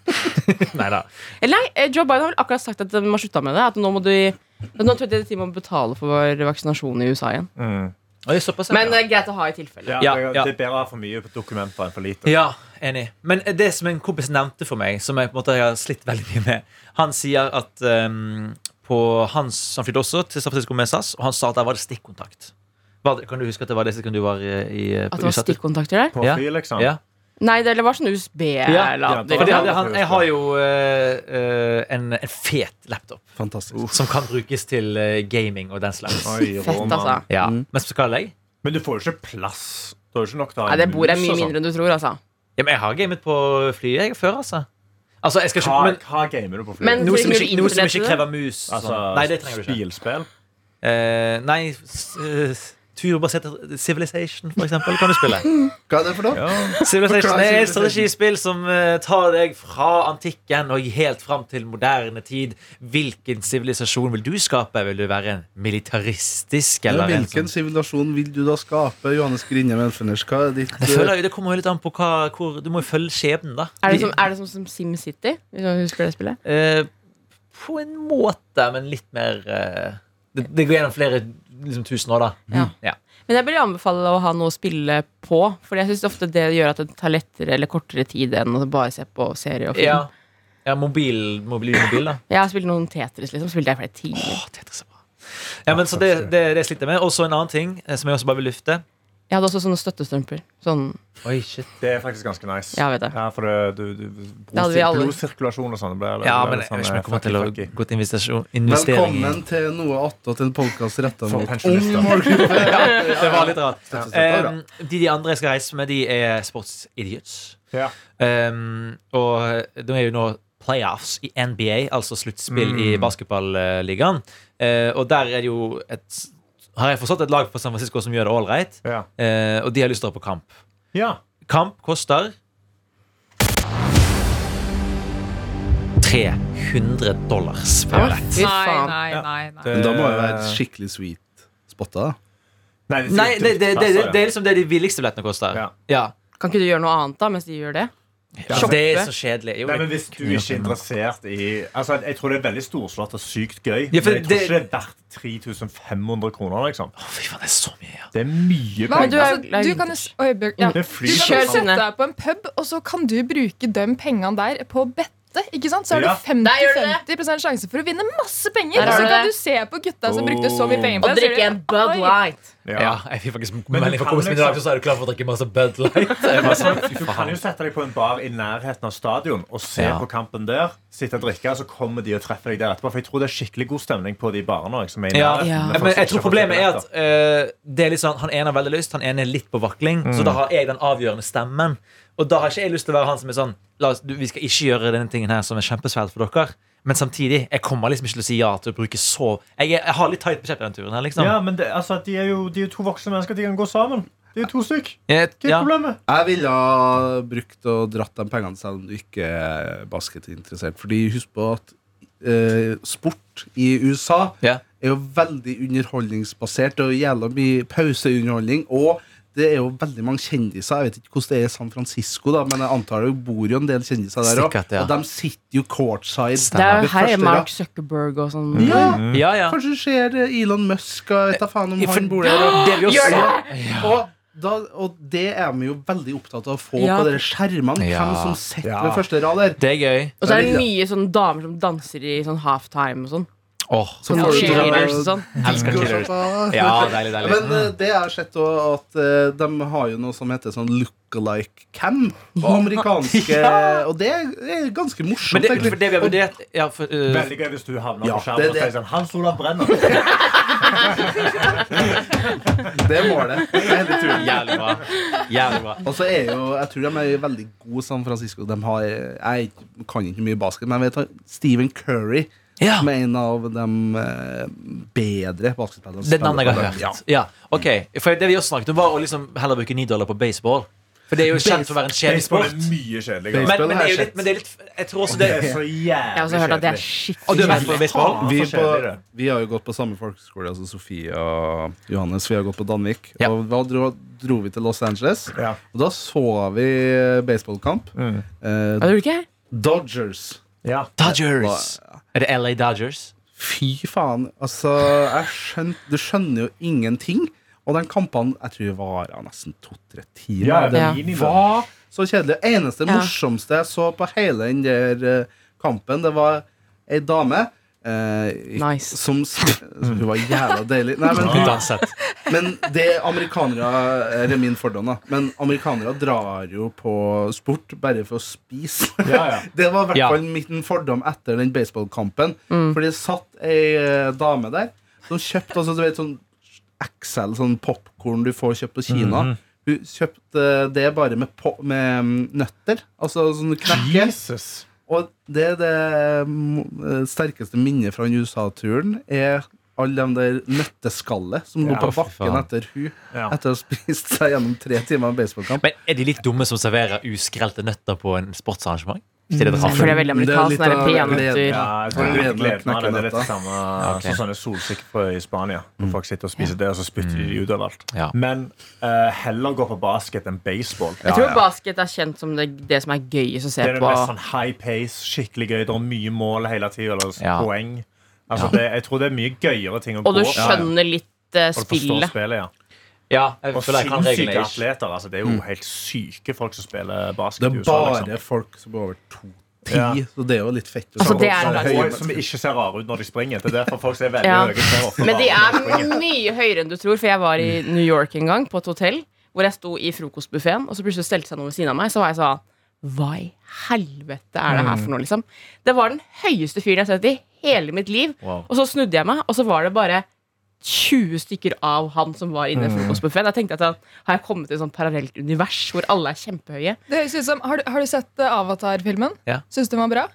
[SPEAKER 6] Nei da.
[SPEAKER 8] Eller nei, eh, Joe Biden har vel akkurat sagt at de har slutta med det. At nå må du at nå tror jeg de må betale for vår vaksinasjon i USA igjen.
[SPEAKER 6] Oi, såpass, ja.
[SPEAKER 8] Men det er greit å ha i tilfelle.
[SPEAKER 2] Ja,
[SPEAKER 6] Ja,
[SPEAKER 2] det,
[SPEAKER 6] ja.
[SPEAKER 2] det er bedre å ha for mye dokumenter enn for lite.
[SPEAKER 6] Ja, enig. Men det som en kompis nevnte for meg, som jeg på en måte har slitt veldig mye med Han sier at ehm, på hans, Han flydde også til San Francisco med SAS, og han sa at der var det stikkontakt. Var det, kan du huske at det var det sekundet du var i, i
[SPEAKER 8] At det var
[SPEAKER 6] utsatt?
[SPEAKER 8] stikkontakter der?
[SPEAKER 2] På
[SPEAKER 6] Ja.
[SPEAKER 2] fly, liksom.
[SPEAKER 6] Ja.
[SPEAKER 8] Nei, det eller var sånn USB-lader.
[SPEAKER 6] For det hadde han, jeg har jo eh, eh, en, en fet laptop
[SPEAKER 3] Fantastisk.
[SPEAKER 6] som kan brukes til eh, gaming og den slags.
[SPEAKER 2] Oi,
[SPEAKER 8] Fett,
[SPEAKER 2] Roman.
[SPEAKER 8] altså.
[SPEAKER 6] Ja. Men så skal jeg
[SPEAKER 2] Men du får jo ikke plass. Du har jo ikke nok til å ha
[SPEAKER 8] Nei, det
[SPEAKER 2] en
[SPEAKER 8] bordet er
[SPEAKER 2] mus
[SPEAKER 8] mye
[SPEAKER 2] og sånn.
[SPEAKER 8] mindre enn du tror, altså.
[SPEAKER 6] Ja, men jeg har gamet på flyet jeg før, altså. Altså, jeg skal ikke
[SPEAKER 2] Hva,
[SPEAKER 6] men,
[SPEAKER 2] hva gamer du på fly?
[SPEAKER 8] Men-
[SPEAKER 6] noe, som
[SPEAKER 8] trenger
[SPEAKER 6] ikke,
[SPEAKER 8] du
[SPEAKER 6] noe som
[SPEAKER 8] internett til
[SPEAKER 6] ikke
[SPEAKER 8] det?
[SPEAKER 6] krever mus. og
[SPEAKER 2] Altså,
[SPEAKER 6] sånn. Nei, det trenger du ikke.
[SPEAKER 2] Spilspill?
[SPEAKER 6] Eh, nei, s- eh, turbasert Civilization, for eksempel, kan du spille.
[SPEAKER 3] Hva er det for noe?
[SPEAKER 6] Civilization
[SPEAKER 3] Forklar
[SPEAKER 6] er
[SPEAKER 3] Civilization.
[SPEAKER 6] et strategispill som eh, tar deg fra antikken og helt fram til moderne tid. Hvilken sivilisasjon vil du skape? Vil du være en militaristisk? Eller en
[SPEAKER 3] Hvilken
[SPEAKER 6] sånn-
[SPEAKER 3] sivilisasjon vil du da skape, Johannes Grinje Melfeners? Hva er ditt
[SPEAKER 6] jeg
[SPEAKER 3] eh,
[SPEAKER 6] føler, jo- det kommer jo litt an på hva, hvor Du må jo følge skjebnen, da.
[SPEAKER 8] Er det som, er det sånn som, som SimCity? Hvis du husker det spillet?
[SPEAKER 6] Eh, på en måte, men litt mer eh, det, det går gjennom flere liksom, tusen år, da.
[SPEAKER 8] Ja.
[SPEAKER 6] Ja.
[SPEAKER 8] Men jeg vil anbefale å ha noe å spille på. For jeg syns ofte det gjør at det tar lettere eller kortere tid enn å bare se på serie og film.
[SPEAKER 6] Ja, ja mobil, mobil, mobil, da.
[SPEAKER 8] Jeg har spilt noen Tetris, liksom. Spilte jeg i flere timer.
[SPEAKER 6] Å, Tetris er bra. Ja, men så det, det, det sliter jeg med. Og så en annen ting eh, som jeg også bare vil lufte.
[SPEAKER 8] Jeg hadde også sånne støttestrømper. Sånn,
[SPEAKER 6] Oi, shit
[SPEAKER 2] Det er faktisk ganske nice.
[SPEAKER 8] Ja, jeg vet det.
[SPEAKER 2] Ja, for det, du, du,
[SPEAKER 8] Det hadde vi alle.
[SPEAKER 2] Blodsirkulasjon og sånn. det ble-
[SPEAKER 6] Ja,
[SPEAKER 2] det ble
[SPEAKER 6] men jeg
[SPEAKER 2] sånn,
[SPEAKER 6] vet ikke om jeg kommer
[SPEAKER 2] fucky,
[SPEAKER 6] til å
[SPEAKER 2] fucky.
[SPEAKER 6] gå til investering, investering i
[SPEAKER 3] Velkommen til noe attåt, en podkast retta
[SPEAKER 2] For
[SPEAKER 3] mot
[SPEAKER 2] pensjonister.
[SPEAKER 3] ung målgruppe.
[SPEAKER 6] Det var litt rart.
[SPEAKER 3] Ja.
[SPEAKER 6] Um, de, de andre jeg skal reise med, de er sportsidiots.
[SPEAKER 2] Ja.
[SPEAKER 6] Um, og de er jo nå playoffs i NBA, altså sluttspill i basketballigaen. Uh, og der er det jo et Har jeg forstått et lag på San Francisco som gjør det ålreit,
[SPEAKER 2] Ja.
[SPEAKER 6] uh, og de har lyst til å dra på kamp.
[SPEAKER 2] ja.
[SPEAKER 6] Kamp koster 300 dollars per billett.
[SPEAKER 8] fy faen.
[SPEAKER 4] Nei, nei, nei.
[SPEAKER 2] Det-
[SPEAKER 3] Men da må jeg være skikkelig sweet spotta. da.
[SPEAKER 2] Nei,
[SPEAKER 6] Nei, det, det, det, det, det
[SPEAKER 2] det,
[SPEAKER 6] er liksom det de billigste billettene koster.
[SPEAKER 2] Ja.
[SPEAKER 6] Ja.
[SPEAKER 8] Kan ikke du gjøre noe annet da mens de gjør det?
[SPEAKER 6] Ja, det er så kjedelig. Jo,
[SPEAKER 2] Nei, men Hvis du ikke er interessert i Altså, Jeg tror det er veldig storslått og sykt gøy,
[SPEAKER 6] Ja, for
[SPEAKER 2] men jeg tror
[SPEAKER 6] det-
[SPEAKER 2] ikke det er verdt 3500 kroner. liksom
[SPEAKER 6] Å, fy faen, det er så mye. Ja.
[SPEAKER 2] Det er mye
[SPEAKER 4] Hva,
[SPEAKER 8] Men
[SPEAKER 4] du,
[SPEAKER 2] penger.
[SPEAKER 8] du er-
[SPEAKER 4] altså, du kan jo s- Oi, Bjørk, ja.
[SPEAKER 2] Det er
[SPEAKER 4] Du
[SPEAKER 2] fly-
[SPEAKER 4] kan jo
[SPEAKER 8] Kjør
[SPEAKER 4] sette
[SPEAKER 8] sine.
[SPEAKER 4] deg på en pub, og så kan du bruke de pengene der på å bette åtte, ikke sant? så har du
[SPEAKER 2] Ja.
[SPEAKER 4] 50-50 sjanse for å vinne masse penger.
[SPEAKER 8] Der har
[SPEAKER 4] Så
[SPEAKER 8] du
[SPEAKER 4] kan
[SPEAKER 8] det.
[SPEAKER 4] du se på gutta som brukte så mye penger på
[SPEAKER 8] Og
[SPEAKER 4] det. så sier
[SPEAKER 8] drikke en
[SPEAKER 4] du,
[SPEAKER 8] Bud
[SPEAKER 4] «Oi,
[SPEAKER 8] Light.
[SPEAKER 6] Ja, jeg fikk faktisk
[SPEAKER 2] Men du
[SPEAKER 6] melding fra
[SPEAKER 2] kan
[SPEAKER 6] kompisen min i dag, så er du klar for å drikke masse Bud Light. Jeg bare sånn, fy
[SPEAKER 2] Du kan jo
[SPEAKER 6] faen.
[SPEAKER 2] sette deg på en bar i nærheten av stadion og se
[SPEAKER 6] Ja.
[SPEAKER 2] på kampen der. Sitte og drikke, og så kommer de og treffer deg der etterpå. For jeg tror det er skikkelig god stemning på de barene. også, Som er i
[SPEAKER 6] Ja.
[SPEAKER 2] nærheten, med folk
[SPEAKER 6] Men
[SPEAKER 2] som ikke
[SPEAKER 6] jeg tror
[SPEAKER 2] har fått
[SPEAKER 6] problemet er at
[SPEAKER 2] billetter.
[SPEAKER 6] eh, det er litt sånn, han ene har veldig lyst, han ene er litt på vakling. Så da har jeg den avgjørende stemmen. Og da har ikke jeg lyst til å være han som er sånn La oss, du, Vi skal ikke gjøre denne tingen her som er kjempesvært for dere. Men samtidig, jeg kommer liksom ikke til å si ja til å bruke så Jeg, er- jeg har litt tight budsjett på den turen her, liksom.
[SPEAKER 2] ja, men det, altså, de, er jo, de er jo to voksne mennesker. De kan gå sammen. De er jo to stykk.
[SPEAKER 6] Jeg,
[SPEAKER 2] Hva er
[SPEAKER 6] ja.
[SPEAKER 2] problemet?
[SPEAKER 3] Jeg ville ha brukt og dratt de pengene selv om du ikke er basketinteressert. Fordi husk på at eh, sport i USA
[SPEAKER 6] Ja.
[SPEAKER 3] er jo veldig underholdningsbasert. Det er jo jævla mye pauseunderholdning. Og det er jo veldig mange kjendiser. Jeg vet ikke hvordan det er i San Francisco, da, men jeg antar det bor jo en del kjendiser der òg.
[SPEAKER 6] Sikkert, ja.
[SPEAKER 3] Og de sitter jo courtside.
[SPEAKER 8] Det er jo
[SPEAKER 3] ved
[SPEAKER 8] her
[SPEAKER 3] første
[SPEAKER 8] er Mark
[SPEAKER 3] rad.
[SPEAKER 8] Zuckerberg og sånn.
[SPEAKER 3] Ja,
[SPEAKER 6] ja, ja.
[SPEAKER 3] Kanskje det skjer eh, Elon Musk og jeg vet da faen om
[SPEAKER 6] For-
[SPEAKER 3] han bor der. Og,
[SPEAKER 6] Det vi også-
[SPEAKER 3] og, da, og det er vi jo veldig opptatt av å få
[SPEAKER 8] Ja.
[SPEAKER 3] på dere skjermene. Hvem
[SPEAKER 6] Ja.
[SPEAKER 3] som sitter
[SPEAKER 2] Ja.
[SPEAKER 3] ved første rad der.
[SPEAKER 6] Det er gøy.
[SPEAKER 8] Og så er det mye sånn damer som danser i sånn halftime og sånn.
[SPEAKER 6] Åh,
[SPEAKER 3] Så
[SPEAKER 8] Sånn
[SPEAKER 3] får du
[SPEAKER 8] cheerleaders og sånn.
[SPEAKER 6] elsker
[SPEAKER 3] Går
[SPEAKER 6] Killer.
[SPEAKER 3] sånn, da.
[SPEAKER 6] Ja, deilig,
[SPEAKER 3] Ja,
[SPEAKER 6] deilig. Mm.
[SPEAKER 3] Men eh, det jeg har sett også, at eh, de har jo noe som heter sånn look-alike cam. Og amerikanske Og det er, det er ganske morsomt.
[SPEAKER 6] Men det,
[SPEAKER 3] egentlig.
[SPEAKER 6] for det vi har vurdert ja, for, uh,
[SPEAKER 2] Veldig gøy hvis du havner
[SPEAKER 3] Ja,
[SPEAKER 2] på skjermen
[SPEAKER 3] det-
[SPEAKER 2] og
[SPEAKER 3] det-
[SPEAKER 2] sier sånn Hans Olav Brenner.
[SPEAKER 3] Og det er målet. Det er hele turen.
[SPEAKER 6] Jævlig bra. Jævlig bra.
[SPEAKER 3] Og så er jo, jeg tror de er veldig gode i San Francisco. De har, jeg kan ikke mye basket, men jeg vet at Stephen Curry
[SPEAKER 6] Ja,
[SPEAKER 3] som er en av de eh, bedre basketspillerne. som
[SPEAKER 6] det er navnet jeg har
[SPEAKER 3] spiller på
[SPEAKER 6] hørt. Ja, ok For Det vi også snakket om, var å liksom heller bruke ni dollar på baseball. For det er jo kjent for å være en kjedelig
[SPEAKER 2] Baseball er
[SPEAKER 6] sport.
[SPEAKER 2] mye kjedeligere.
[SPEAKER 6] Men, men, det er jo litt, men det er litt Jeg tror også det
[SPEAKER 2] Det er så
[SPEAKER 8] Jeg har
[SPEAKER 2] jævlig
[SPEAKER 8] også hørt at det er
[SPEAKER 2] kjedelig.
[SPEAKER 6] Og du
[SPEAKER 8] skikkelig
[SPEAKER 6] har vært på baseball?
[SPEAKER 3] Vi,
[SPEAKER 2] Ja, så
[SPEAKER 3] på,
[SPEAKER 2] kjedelig det.
[SPEAKER 3] vi har jo gått på samme folkeskole, altså Sofie og Johannes. Vi har gått på Danvik.
[SPEAKER 6] Ja.
[SPEAKER 3] Og da dro, dro vi til Los Angeles,
[SPEAKER 2] Ja.
[SPEAKER 3] og da så vi eh, baseballkamp.
[SPEAKER 2] Mm.
[SPEAKER 3] Eh,
[SPEAKER 8] Er du ikke?
[SPEAKER 3] Dodgers.
[SPEAKER 2] Ja.
[SPEAKER 6] Dodgers. Er det LA Dodgers?
[SPEAKER 3] Fy faen. Altså, jeg skjøn- du skjønner jo ingenting. Og den kampen jeg tror vara nesten to-tre timer.
[SPEAKER 2] Ja,
[SPEAKER 3] det
[SPEAKER 8] Ja.
[SPEAKER 2] minimal.
[SPEAKER 3] var så kjedelig. Det eneste
[SPEAKER 8] Ja.
[SPEAKER 3] morsomste jeg så på hele den der eh, kampen, det var ei dame eh,
[SPEAKER 8] Nice.
[SPEAKER 3] som sp- Hun var jævla deilig. Nei, men,
[SPEAKER 6] Hun danset.
[SPEAKER 3] men det amerikanere Eller min fordom, da. Men amerikanere drar jo på sport bare for å spise.
[SPEAKER 2] Ja, ja.
[SPEAKER 3] Det var i hvert
[SPEAKER 6] Ja.
[SPEAKER 3] fall min fordom etter den baseballkampen. For det satt ei eh, dame der som kjøpte altså, du vet, sånn XL, sånn popkorn du får kjøpt på Kina. Hun kjøpte det bare med, po med mm, nøtter. Altså sånn knekker.
[SPEAKER 2] Jesus.
[SPEAKER 3] Og det er det mm, sterkeste minnet fra den USA-turen, er alle de der nøtteskallet som lå
[SPEAKER 2] Ja,
[SPEAKER 3] på
[SPEAKER 6] fy
[SPEAKER 3] bakken
[SPEAKER 6] faen.
[SPEAKER 3] etter hun
[SPEAKER 2] Ja.
[SPEAKER 3] etter å ha spist seg gjennom tre timer med baseballkamp.
[SPEAKER 6] Men er de litt dumme som serverer uskrelte nøtter på en sportsarrangement? Sier det
[SPEAKER 8] Jeg tror det er veldig
[SPEAKER 3] Det er
[SPEAKER 8] amerikansk.
[SPEAKER 3] litt
[SPEAKER 8] Det er
[SPEAKER 3] av-
[SPEAKER 8] peanøtter.
[SPEAKER 2] Ja, jeg tror det er litt gleden av det. Det er litt det samme sånn
[SPEAKER 6] Ok.
[SPEAKER 2] som sånne solsikker på i Spania. Hvor folk sitter og spiser det, og så spytter de
[SPEAKER 8] Mm.
[SPEAKER 2] ut overalt.
[SPEAKER 6] Ja.
[SPEAKER 2] Men eh, heller gå på basket enn baseball.
[SPEAKER 8] Jeg tror basket er kjent som det, det som er gøyest å se
[SPEAKER 2] Det er det
[SPEAKER 8] på.
[SPEAKER 2] mest sånn high pace, skikkelig gøy. Det er mye mål hele tida, eller
[SPEAKER 6] Ja.
[SPEAKER 2] poeng. Altså,
[SPEAKER 6] Ja.
[SPEAKER 2] det, jeg tror det er mye gøyere ting å
[SPEAKER 8] Og du
[SPEAKER 2] gå
[SPEAKER 8] skjønner litt eh,
[SPEAKER 2] Og du forstår
[SPEAKER 8] spillet.
[SPEAKER 2] spillet, ja.
[SPEAKER 6] Ja, jeg
[SPEAKER 2] Og
[SPEAKER 6] føler jeg kan
[SPEAKER 2] sinnssyke
[SPEAKER 6] reglene ikke.
[SPEAKER 2] atleter. Altså, det
[SPEAKER 8] Mm.
[SPEAKER 2] er jo helt syke folk som spiller basket
[SPEAKER 3] Det
[SPEAKER 2] i
[SPEAKER 3] er
[SPEAKER 2] USA.
[SPEAKER 3] bare
[SPEAKER 2] liksom.
[SPEAKER 3] folk som er over 2,10,
[SPEAKER 2] Ja.
[SPEAKER 3] så det er jo litt fett. å
[SPEAKER 8] Altså,
[SPEAKER 3] se
[SPEAKER 8] det
[SPEAKER 3] på.
[SPEAKER 8] er en
[SPEAKER 3] Så
[SPEAKER 8] lang-
[SPEAKER 3] høy-
[SPEAKER 2] Og som ikke ser rare ut når de springer. Det er derfor folk ser veldig
[SPEAKER 8] Ja.
[SPEAKER 2] høye ut. ser ofte
[SPEAKER 8] Men
[SPEAKER 2] rare
[SPEAKER 8] de
[SPEAKER 2] ut
[SPEAKER 8] er
[SPEAKER 2] når springer.
[SPEAKER 8] mye høyere enn du tror, for jeg var i New York en gang, på et hotell, hvor jeg sto i frokostbuffeen, og så plutselig stelte seg noen ved siden av meg, så var jeg sånn Hva i helvete er det her for noe, liksom? Det var den høyeste fyren jeg har sett i hele mitt liv.
[SPEAKER 6] Wow.
[SPEAKER 8] Og så snudde jeg meg, og så var det bare 20 stykker av han som var inne i frokostbuffeen. Jeg tenkte at da har jeg kommet til et sånt parallelt univers hvor alle er kjempehøye.
[SPEAKER 4] Det høres ut som, har, du, har du sett eh, Avatar-filmen?
[SPEAKER 6] Ja.
[SPEAKER 4] Syns du den var bra?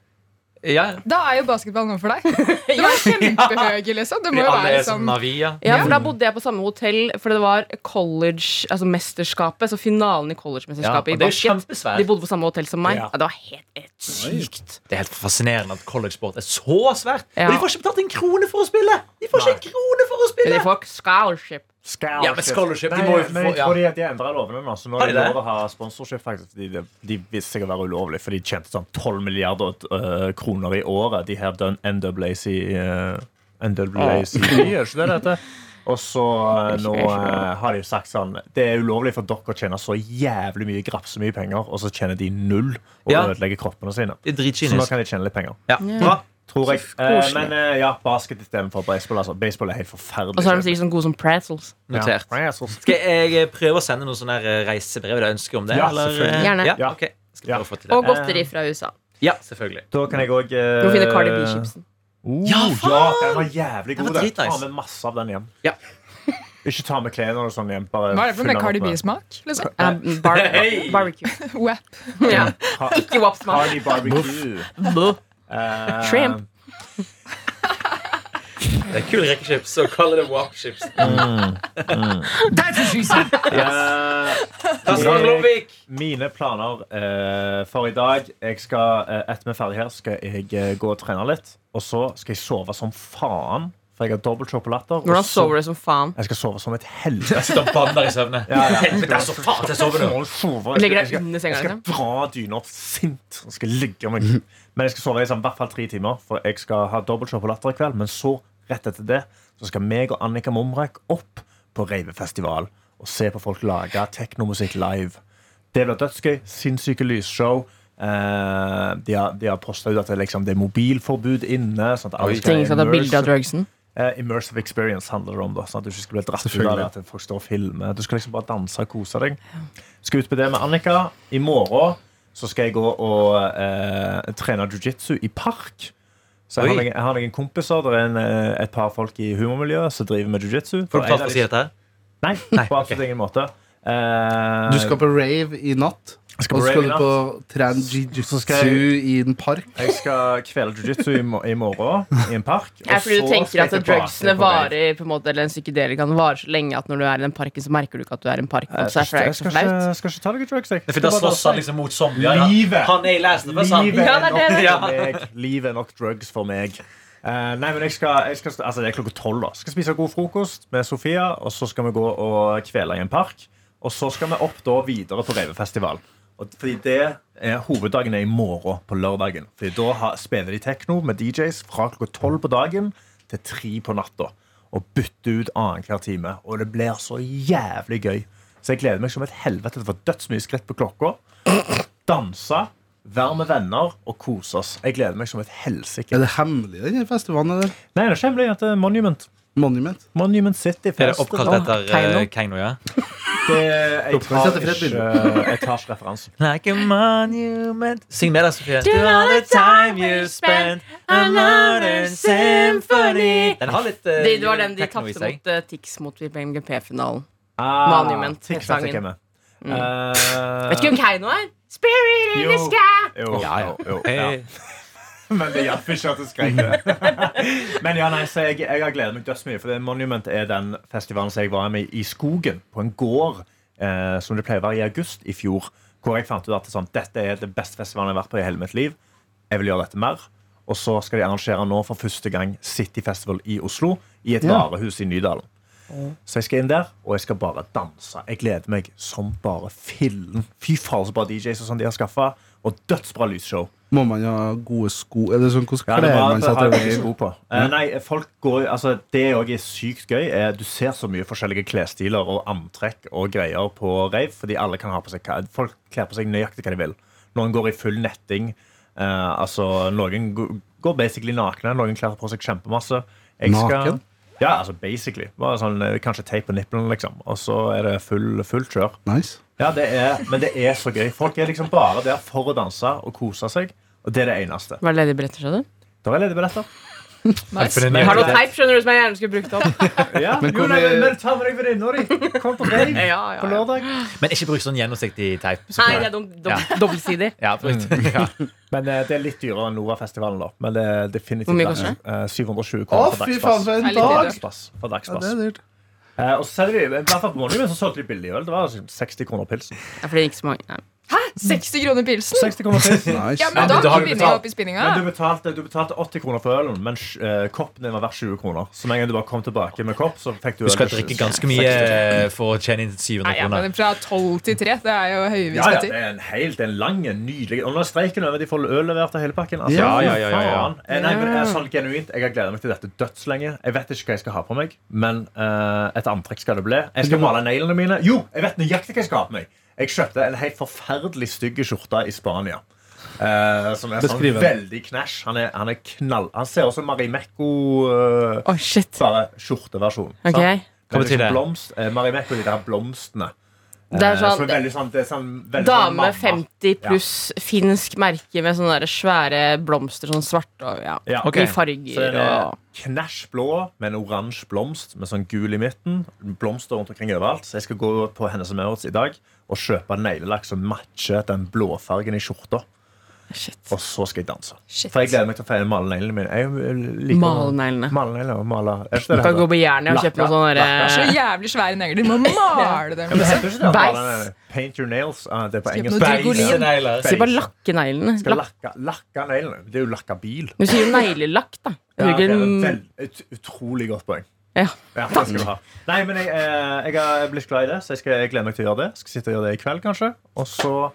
[SPEAKER 6] Ja,
[SPEAKER 4] Da er jo basketball noe for deg. Du var kjempehøy, liksom. Du må
[SPEAKER 6] fordi
[SPEAKER 4] jo
[SPEAKER 6] alle
[SPEAKER 4] være
[SPEAKER 6] er som
[SPEAKER 4] sånn
[SPEAKER 6] Navia.
[SPEAKER 8] Ja, for da bodde jeg på samme hotell, for det var college, altså mesterskapet, så finalen i
[SPEAKER 6] Ja, og
[SPEAKER 8] collegemesterskapet i
[SPEAKER 6] det er jo
[SPEAKER 8] basket. De
[SPEAKER 6] kjempesvært.
[SPEAKER 8] bodde på samme hotell som meg.
[SPEAKER 2] Ja.
[SPEAKER 8] Ja. Det var helt, helt sykt.
[SPEAKER 6] Det er helt fascinerende at college-sport er så svært.
[SPEAKER 8] Ja.
[SPEAKER 6] Og de får ikke betalt en krone for å spille! De får ikke en krone for å
[SPEAKER 8] Men
[SPEAKER 6] spille!
[SPEAKER 8] de får scholarship.
[SPEAKER 2] Scholarship.
[SPEAKER 6] Ja, men scholarship, de
[SPEAKER 2] Nei,
[SPEAKER 6] må jo
[SPEAKER 2] men
[SPEAKER 6] få-
[SPEAKER 2] jeg
[SPEAKER 6] ja.
[SPEAKER 2] tror de, de endret lovene nå. Så nå
[SPEAKER 6] Har
[SPEAKER 2] er
[SPEAKER 6] de
[SPEAKER 2] det
[SPEAKER 6] det?
[SPEAKER 2] lov å ha sponsorship, faktisk. fordi De, de visste seg å være ulovlig, for de tjente sånn 12 milliarder øh, kroner eh, Ah. i året. De her done NAAC, øh, NAACP, gjør ikke det det heter? Og så eh, nå eh, har de jo sagt sånn Det er ulovlig for dere å tjene så jævlig mye grapse mye penger, og så tjener de null og
[SPEAKER 6] Ja.
[SPEAKER 2] ødelegger kroppene sine. Så
[SPEAKER 6] Det er
[SPEAKER 2] nå
[SPEAKER 6] dritkynisk.
[SPEAKER 2] kan de tjene litt penger.
[SPEAKER 6] Ja. Bra.
[SPEAKER 2] Tror jeg. Eh, men eh, ja, basket istedenfor baseball. Altså. Baseball er helt forferdelig.
[SPEAKER 8] Og så er de sikkert sånn gode som pretzels.
[SPEAKER 6] Notert.
[SPEAKER 2] Ja. Nei, jeg tror-
[SPEAKER 6] Skal jeg eh, prøve å sende noen sånne her, eh, reisebrev eller ønsker om det?
[SPEAKER 2] Ja,
[SPEAKER 6] eller? eh,
[SPEAKER 2] selvfølgelig.
[SPEAKER 8] Gjerne.
[SPEAKER 6] Ja,
[SPEAKER 2] Ja.
[SPEAKER 6] ok. Skal prøve å få til det.
[SPEAKER 8] Og godteri fra USA.
[SPEAKER 6] Ja, selvfølgelig.
[SPEAKER 2] Da kan jeg òg
[SPEAKER 8] Du må finne Cardi B-chipsen.
[SPEAKER 2] Oh, ja, den var jævlig god.
[SPEAKER 6] Den var
[SPEAKER 2] Den
[SPEAKER 6] dritnice.
[SPEAKER 2] Ta med masse av den hjem.
[SPEAKER 6] Ja.
[SPEAKER 2] Ikke ta med klærne og sånn hjem. Bare
[SPEAKER 4] Hva er det for
[SPEAKER 2] fyll
[SPEAKER 4] med
[SPEAKER 2] den
[SPEAKER 4] Cardi
[SPEAKER 2] opp
[SPEAKER 4] B-smak? Liksom?
[SPEAKER 8] Ja, mm, bar
[SPEAKER 6] Hey!
[SPEAKER 8] barbecue.
[SPEAKER 4] Wap.
[SPEAKER 8] Ja.
[SPEAKER 2] Har-
[SPEAKER 8] Ikke wap-smak.
[SPEAKER 2] Cardi barbecue. Eh,
[SPEAKER 8] Shrimp.
[SPEAKER 6] Det er kul rekkechips å kalle det walk-chips.
[SPEAKER 2] eh,
[SPEAKER 6] Karsten Blomvik!
[SPEAKER 2] Mine planer eh, for i dag jeg skal, eh, Etter vi er ferdig her, skal jeg eh, gå og trene litt. Og så skal jeg sove som faen, for jeg har dobbelt sjokolatter.
[SPEAKER 8] Hvordan sover du som faen?
[SPEAKER 2] Jeg skal sove som et helvete.
[SPEAKER 6] Jeg sitter og banner i søvne.
[SPEAKER 2] Ja, ja.
[SPEAKER 6] Helvete, altså, faen, jeg sover nå.
[SPEAKER 2] Jeg skal-
[SPEAKER 8] Legger deg
[SPEAKER 2] jeg skal-
[SPEAKER 8] under senga,
[SPEAKER 2] Jeg skal dra dyna opp sint. Jeg skal ligge meg Men jeg skal sove i sånn, i hvert fall tre timer, for jeg skal ha dobbelt sjokolatter i kveld. Men så, rett etter det, så skal meg og Annika Momrek opp på Reivefestival og se på folk lage teknomusikk live. Det blir dødsgøy. Sinnssyke lysshow. Eh, de har, de har posta ut at det, liksom, det er mobilforbud inne. Sånn at alle skal
[SPEAKER 8] Ingen skal ta bilde av drugsen.
[SPEAKER 2] Eh, immersive experience handler det om. da Sånn at du ikke skal bli dratt ut av det. At folk står og filmer Du skal liksom bare danse og kose deg. Skal ut på det med Annika. I morgen så skal jeg gå og eh, trene jiu-jitsu i park. Så jeg
[SPEAKER 6] Oi.
[SPEAKER 2] har, noen, jeg har noen kompiser. Det er en, eh, et par folk i humormiljøet som driver med jiu-jitsu.
[SPEAKER 6] Får du betalt for å si dette her?
[SPEAKER 2] Nei,
[SPEAKER 6] Nei,
[SPEAKER 2] på absolutt ingen måte. Eh,
[SPEAKER 3] Du skal på rave i natt.
[SPEAKER 2] jeg skal
[SPEAKER 3] Og
[SPEAKER 2] på
[SPEAKER 3] så
[SPEAKER 2] rave i
[SPEAKER 3] skal du
[SPEAKER 2] natt.
[SPEAKER 3] på tren
[SPEAKER 2] Så skal jeg-
[SPEAKER 3] jiu-jitsu i en park.
[SPEAKER 2] Jeg skal kvele jiu-jitsu i, mo- i morgen i en park.
[SPEAKER 8] Ja,
[SPEAKER 2] og så
[SPEAKER 8] fordi du
[SPEAKER 2] skal
[SPEAKER 8] tenker at
[SPEAKER 2] jeg tilbake
[SPEAKER 8] drugsene
[SPEAKER 2] på rave.
[SPEAKER 8] varer på en måte, eller en psykedelikaen varer så lenge at når du er i den parken, så merker du ikke at du er i en park.
[SPEAKER 2] Jeg
[SPEAKER 8] Så
[SPEAKER 2] skal,
[SPEAKER 8] er
[SPEAKER 2] ikke-
[SPEAKER 8] det
[SPEAKER 2] jeg
[SPEAKER 8] ikke
[SPEAKER 2] skal,
[SPEAKER 8] så flaut.
[SPEAKER 2] ikke, skal ikke ta noe drugs. jeg.
[SPEAKER 6] For
[SPEAKER 2] Skal
[SPEAKER 6] da
[SPEAKER 2] bare
[SPEAKER 6] slåss han
[SPEAKER 2] danse.
[SPEAKER 6] liksom mot zombier. ja.
[SPEAKER 2] Livet.
[SPEAKER 6] Han er i lesten, for sant?
[SPEAKER 2] Livet
[SPEAKER 8] Ja,
[SPEAKER 2] er
[SPEAKER 8] det er
[SPEAKER 2] nok
[SPEAKER 8] det.
[SPEAKER 2] for meg. Livet er nok drugs for meg. Eh, nei, men jeg skal, jeg skal, altså Det er klokka tolv. da Skal spise god frokost med Sofia, og så skal vi gå og kvele i en park. Og så skal vi opp da videre på Reivefestival. Og fordi det er Hoveddagen er i morgen, på lørdagen. Fordi Da har, spiller de tekno med DJs fra klokka tolv på dagen til tre på natta. Og bytter ut annenhver time. Og det blir så jævlig gøy. Så jeg gleder meg som et helvete til å få dødsmye skritt på klokka danse, være med venner og kose oss. Jeg gleder meg som et helsike.
[SPEAKER 3] Er
[SPEAKER 2] Nei,
[SPEAKER 3] det hemmelig, den her festivalen? Eller?
[SPEAKER 2] det er ikke hemmelig at det er Monument.
[SPEAKER 3] Monument?
[SPEAKER 2] Monument City
[SPEAKER 6] Er det
[SPEAKER 2] Fest.
[SPEAKER 6] oppkalt etter eh, Keiino, ja?
[SPEAKER 2] Det- Jeg
[SPEAKER 3] Oppkalt
[SPEAKER 2] tar
[SPEAKER 3] etter Fred
[SPEAKER 2] ikke, eh, jeg tar ikke referansen.
[SPEAKER 6] Like a monument Syng med deg, Sofie. To all the time you spent another symphony Den har litt eh,
[SPEAKER 8] Det det var den de
[SPEAKER 6] techno i
[SPEAKER 8] tapte
[SPEAKER 6] seg.
[SPEAKER 8] mot eh, Tix mot MGP-finalen.
[SPEAKER 2] Ah,
[SPEAKER 8] Monument,
[SPEAKER 2] TikTok
[SPEAKER 8] sangen.
[SPEAKER 2] fikk jeg med.
[SPEAKER 8] Mm.
[SPEAKER 2] Eh,
[SPEAKER 8] Vet ikke hvem Keiino er? Spirit in the
[SPEAKER 2] Jo.
[SPEAKER 8] sky!
[SPEAKER 2] jo, jo, jo, ja. Eh,
[SPEAKER 6] Hey.
[SPEAKER 2] Men det hjalp ikke at jeg skrek det. Men ja, nei, så jeg, jeg har gledet meg dødsmye, for det Monument er den festivalen som jeg var med i skogen, på en gård, eh, som det pleier å være i august i fjor, hvor jeg fant ut at det, sånn, dette er det beste festivalen jeg har vært på i hele mitt liv. Jeg vil gjøre dette mer. Og så skal de arrangere nå for første gang City Festival i Oslo, i et
[SPEAKER 3] Ja.
[SPEAKER 2] varehus i Nydalen. Så jeg skal inn der, og jeg skal bare danse. Jeg gleder meg som bare fillen. Fy faen, så bra DJs og sånn de har skaffa. Og dødsbra lysshow.
[SPEAKER 3] Må man ha gode sko? Er det sånn, hvordan
[SPEAKER 2] Ja, det
[SPEAKER 3] kler
[SPEAKER 2] var
[SPEAKER 3] man
[SPEAKER 2] at jeg
[SPEAKER 3] seg
[SPEAKER 2] har
[SPEAKER 3] til
[SPEAKER 2] ikke
[SPEAKER 3] rave?
[SPEAKER 2] sko på. Eh,
[SPEAKER 3] Mm.
[SPEAKER 2] nei, folk går, jo- altså, det òg er sykt gøy. er Du ser så mye forskjellige klesstiler og antrekk og greier på rave. Fordi alle kan ha på seg hva Folk kler på seg nøyaktig hva de vil. Noen går i full netting. eh, altså, noen g- går basically nakne. Noen kler på seg kjempemasse. Jeg skal-
[SPEAKER 3] Naken?
[SPEAKER 2] Ja, altså basically. Bare sånn, eh, kanskje teip på nippelen, liksom. Og så er det full, full kjør.
[SPEAKER 3] Nice.
[SPEAKER 2] Ja, det er, men det er så gøy. Folk er liksom bare der for å danse og kose seg. Og det er det eneste.
[SPEAKER 8] Var det ledige billetter, skjønner du?
[SPEAKER 2] Da er ledige billetter.
[SPEAKER 4] Nice.
[SPEAKER 8] Jeg har noe teip skjønner du, som jeg gjerne skulle brukt opp.
[SPEAKER 2] Ja,
[SPEAKER 3] Men
[SPEAKER 2] jo,
[SPEAKER 3] hvor
[SPEAKER 2] nei,
[SPEAKER 3] vi-
[SPEAKER 2] men, men ta med deg venninna di. Kom på rave
[SPEAKER 8] Ja, ja, ja.
[SPEAKER 2] på lørdag.
[SPEAKER 6] Men ikke bruk sånn gjennomsiktig teip. Sofie.
[SPEAKER 8] Nei, det er dum, dum, dobbeltsidig.
[SPEAKER 6] Ja, brukt. Ja.
[SPEAKER 2] Men eh, det er litt dyrere enn Nova-festivalen, da. Men det er definitivt
[SPEAKER 8] Hvor mye
[SPEAKER 2] verdt
[SPEAKER 8] koster det?
[SPEAKER 2] Eh, 720
[SPEAKER 3] Å,
[SPEAKER 2] kroner for
[SPEAKER 3] fy
[SPEAKER 2] dagspass.
[SPEAKER 3] faen, for en
[SPEAKER 4] Veldig
[SPEAKER 3] dag!
[SPEAKER 2] Dagspass. For
[SPEAKER 3] Ja,
[SPEAKER 2] dagspass.
[SPEAKER 3] det er dyrt.
[SPEAKER 2] Eh, og så selger de, i hvert fall på Monument så solgte de billig øl. Det var altså 60 kroner pilsen.
[SPEAKER 8] Ja, fordi det er ikke så mange. Nei.
[SPEAKER 4] Hæ? 60 kroner pilsen?
[SPEAKER 2] 60 kroner prisen.
[SPEAKER 3] Nice.
[SPEAKER 4] Ja, men
[SPEAKER 2] Men
[SPEAKER 4] da
[SPEAKER 2] du har jo
[SPEAKER 4] begynner
[SPEAKER 2] betalt.
[SPEAKER 4] jeg opp i spinninga.
[SPEAKER 2] Men du betalte, du betalte 80 kroner for ølen, men eh, koppen din var verdt 20 kroner. Så med en gang du bare kom tilbake med kopp, så fikk du
[SPEAKER 6] Du skal
[SPEAKER 2] øl.
[SPEAKER 6] drikke ganske mye eh, for å tjene inn 700
[SPEAKER 4] Nei, ja,
[SPEAKER 6] kroner.
[SPEAKER 4] men Fra 12 til 3. Det er jo høyvis
[SPEAKER 2] Ja, ja, det
[SPEAKER 4] butikk.
[SPEAKER 2] er en helt det er en lang, en nydelig Og nå er streiken over, de får øl levert av hele pakken. Altså,
[SPEAKER 3] Ja,
[SPEAKER 6] ja, ja, ja, ja.
[SPEAKER 2] faen. Eh, Nei, men eh, sånn genuint, Jeg har gleda meg til dette dødslenge. Jeg vet ikke hva jeg skal ha på meg, men eh, et antrekk skal det bli. Jeg skal male neglene mine. Jo, jeg vet nøyaktig hva jeg skal ha på meg. Jeg kjøpte en helt forferdelig stygg skjorte i Spania. eh, som er sånn
[SPEAKER 3] Beskriv den.
[SPEAKER 2] veldig knæsj. Han, er, han er knall Han ser ut som Marimekko
[SPEAKER 8] Oi, shit.
[SPEAKER 2] Bare skjorteversjon. sant?
[SPEAKER 8] Ok.
[SPEAKER 2] Men det
[SPEAKER 6] Hva
[SPEAKER 2] er
[SPEAKER 6] betyr
[SPEAKER 2] ikke
[SPEAKER 6] det?
[SPEAKER 2] Blomst, eh, Marimekko, de der blomstene.
[SPEAKER 8] Det er
[SPEAKER 2] Eh,
[SPEAKER 8] sånn-
[SPEAKER 2] så veldig sånn, det er sånn veldig sånn
[SPEAKER 8] Dame
[SPEAKER 2] mamma.
[SPEAKER 8] 50 pluss, finsk merke med sånne der svære blomster, sånn svart og ja.
[SPEAKER 2] Ja.
[SPEAKER 6] Ok.
[SPEAKER 8] I
[SPEAKER 2] Så den
[SPEAKER 8] farger
[SPEAKER 2] er eh,
[SPEAKER 8] og
[SPEAKER 2] knæsj blå med en oransje blomst med sånn gul i midten. Blomster rundt omkring overalt. Så jeg skal gå på Hennes Maurits i dag og kjøpe neglelakk som matcher den blåfargen i skjorta.
[SPEAKER 8] Shit.
[SPEAKER 2] Og så skal jeg danse.
[SPEAKER 4] Shit.
[SPEAKER 2] For jeg gleder meg til å feire male neglene mine. Jeg eh, liker å-
[SPEAKER 8] Male neglene.
[SPEAKER 2] Male negler og male Er ikke det
[SPEAKER 8] Du
[SPEAKER 2] det
[SPEAKER 8] kan gå
[SPEAKER 2] heter?
[SPEAKER 8] på Jernia og kjøpe noe sånn
[SPEAKER 4] Så
[SPEAKER 8] derre
[SPEAKER 4] jævlig svære negler. Du må male
[SPEAKER 2] Ja, men
[SPEAKER 4] dem.
[SPEAKER 2] heter ikke det
[SPEAKER 8] Beis.
[SPEAKER 2] male negler? Paint your nails. Ah, det er på
[SPEAKER 4] Skal jeg
[SPEAKER 2] engelsk.
[SPEAKER 4] på noe Drygolin?
[SPEAKER 6] Beisenegler.
[SPEAKER 8] Si bare lakke neglene.
[SPEAKER 2] Skal
[SPEAKER 8] Lakk-
[SPEAKER 2] lakke, lakke neglene. Det er jo lakka bil.
[SPEAKER 8] Du sier jo neglelakk, da.
[SPEAKER 2] Ja, det
[SPEAKER 8] Bruker
[SPEAKER 2] er et
[SPEAKER 8] en-
[SPEAKER 2] vel- ut, utrolig godt poeng.
[SPEAKER 8] Ja.
[SPEAKER 2] det skal du ha. Nei, men jeg, eh, jeg har blitt glad i det, så jeg, skal, jeg gleder meg til å gjøre det. Skal sitte og gjøre det i kveld, kanskje. Og så,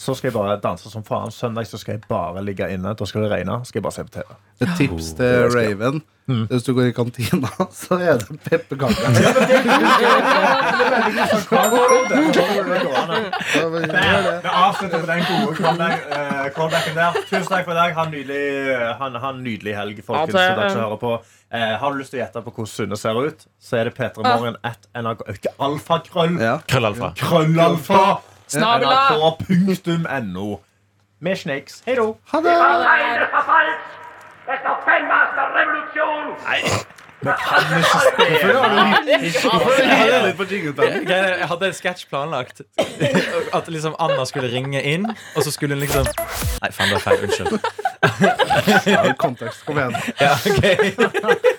[SPEAKER 2] så skal jeg bare danse som faen. Søndag så skal jeg bare ligge inne. Da skal det regne. Skal jeg bare se på TV.
[SPEAKER 3] Et tips til Raven.
[SPEAKER 2] Mm.
[SPEAKER 3] Hvis du går i kantina, så er det pepperkaker. Ja, men gjør det.
[SPEAKER 2] Vi avslutter på den gode comeback- eh, comebacken der. Tusen takk for i dag. Ha en nydelig, ha en- ha en nydelig helg, folkens.
[SPEAKER 8] Ha det.
[SPEAKER 2] til dere som hører på. Eh, har du lyst til å gjette på hvordan Sunne ser ut, så er det p3morgen at nrk... Ikke alfakrøll.
[SPEAKER 3] Ja.
[SPEAKER 6] Krøllalfa.
[SPEAKER 2] Krøllalfa.
[SPEAKER 4] Snabela.
[SPEAKER 2] nrk.no. Med snakes. Hei da.
[SPEAKER 3] Ha det!
[SPEAKER 9] Veien verfallt! Es noch kein Maß der Revolution!
[SPEAKER 6] Greier, Jeg hadde en sketsj planlagt. At liksom Anna skulle ringe inn, og så skulle hun liksom Nei, faen, det var feil. Unnskyld.
[SPEAKER 3] Ja, kontekst. Kom igjen.
[SPEAKER 6] Ja, ok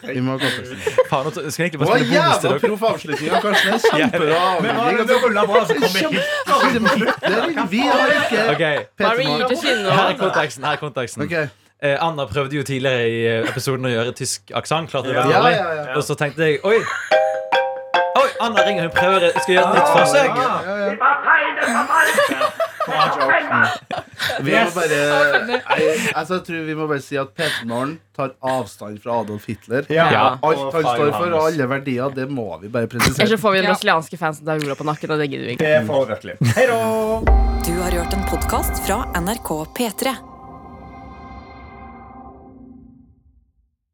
[SPEAKER 3] Vi må ha konteksten.
[SPEAKER 6] Faen, nå skal jeg egentlig
[SPEAKER 3] Det
[SPEAKER 6] bare
[SPEAKER 3] var
[SPEAKER 6] spille bonus til
[SPEAKER 3] jævla
[SPEAKER 6] dere.
[SPEAKER 3] proff avslutning. Karsten, det er kjempebra avslutning.
[SPEAKER 2] Det ruller bra, så kommer jeg hit.
[SPEAKER 3] Kjempe- Vi har ikke
[SPEAKER 6] Ok,
[SPEAKER 8] Hva er det vi gir
[SPEAKER 3] Petermann.
[SPEAKER 8] til kinnet?
[SPEAKER 6] Her er konteksten. Her er konteksten.
[SPEAKER 3] Ok.
[SPEAKER 6] Eh, Anna prøvde jo tidligere i eh, episoden å gjøre tysk aksent. Klarte det veldig
[SPEAKER 3] Ja,
[SPEAKER 6] dårlig.
[SPEAKER 3] ja, ja.
[SPEAKER 6] Og så tenkte jeg Oi! Oi, Anna ringer. Hun prøver. Jeg skal gjøre
[SPEAKER 3] Ah,
[SPEAKER 6] et nytt forsøk.
[SPEAKER 9] Die Parteien des Verfalls! Es noch kein Maß
[SPEAKER 3] Vi må bare Nei, altså, Jeg tror vi må bare si at Petermann tar avstand fra Adolf Hitler.
[SPEAKER 2] Ja.
[SPEAKER 3] Alt han står for, og alle verdier, det må vi bare
[SPEAKER 8] Ellers
[SPEAKER 3] presisere.
[SPEAKER 8] så får vi den
[SPEAKER 4] Ja.
[SPEAKER 8] brasilianske fansen til Aurora på nakken, og det gidder vi ikke.
[SPEAKER 2] Det får vi virkelig. Hei da.
[SPEAKER 1] Du har hørt en podkast fra NRK P3.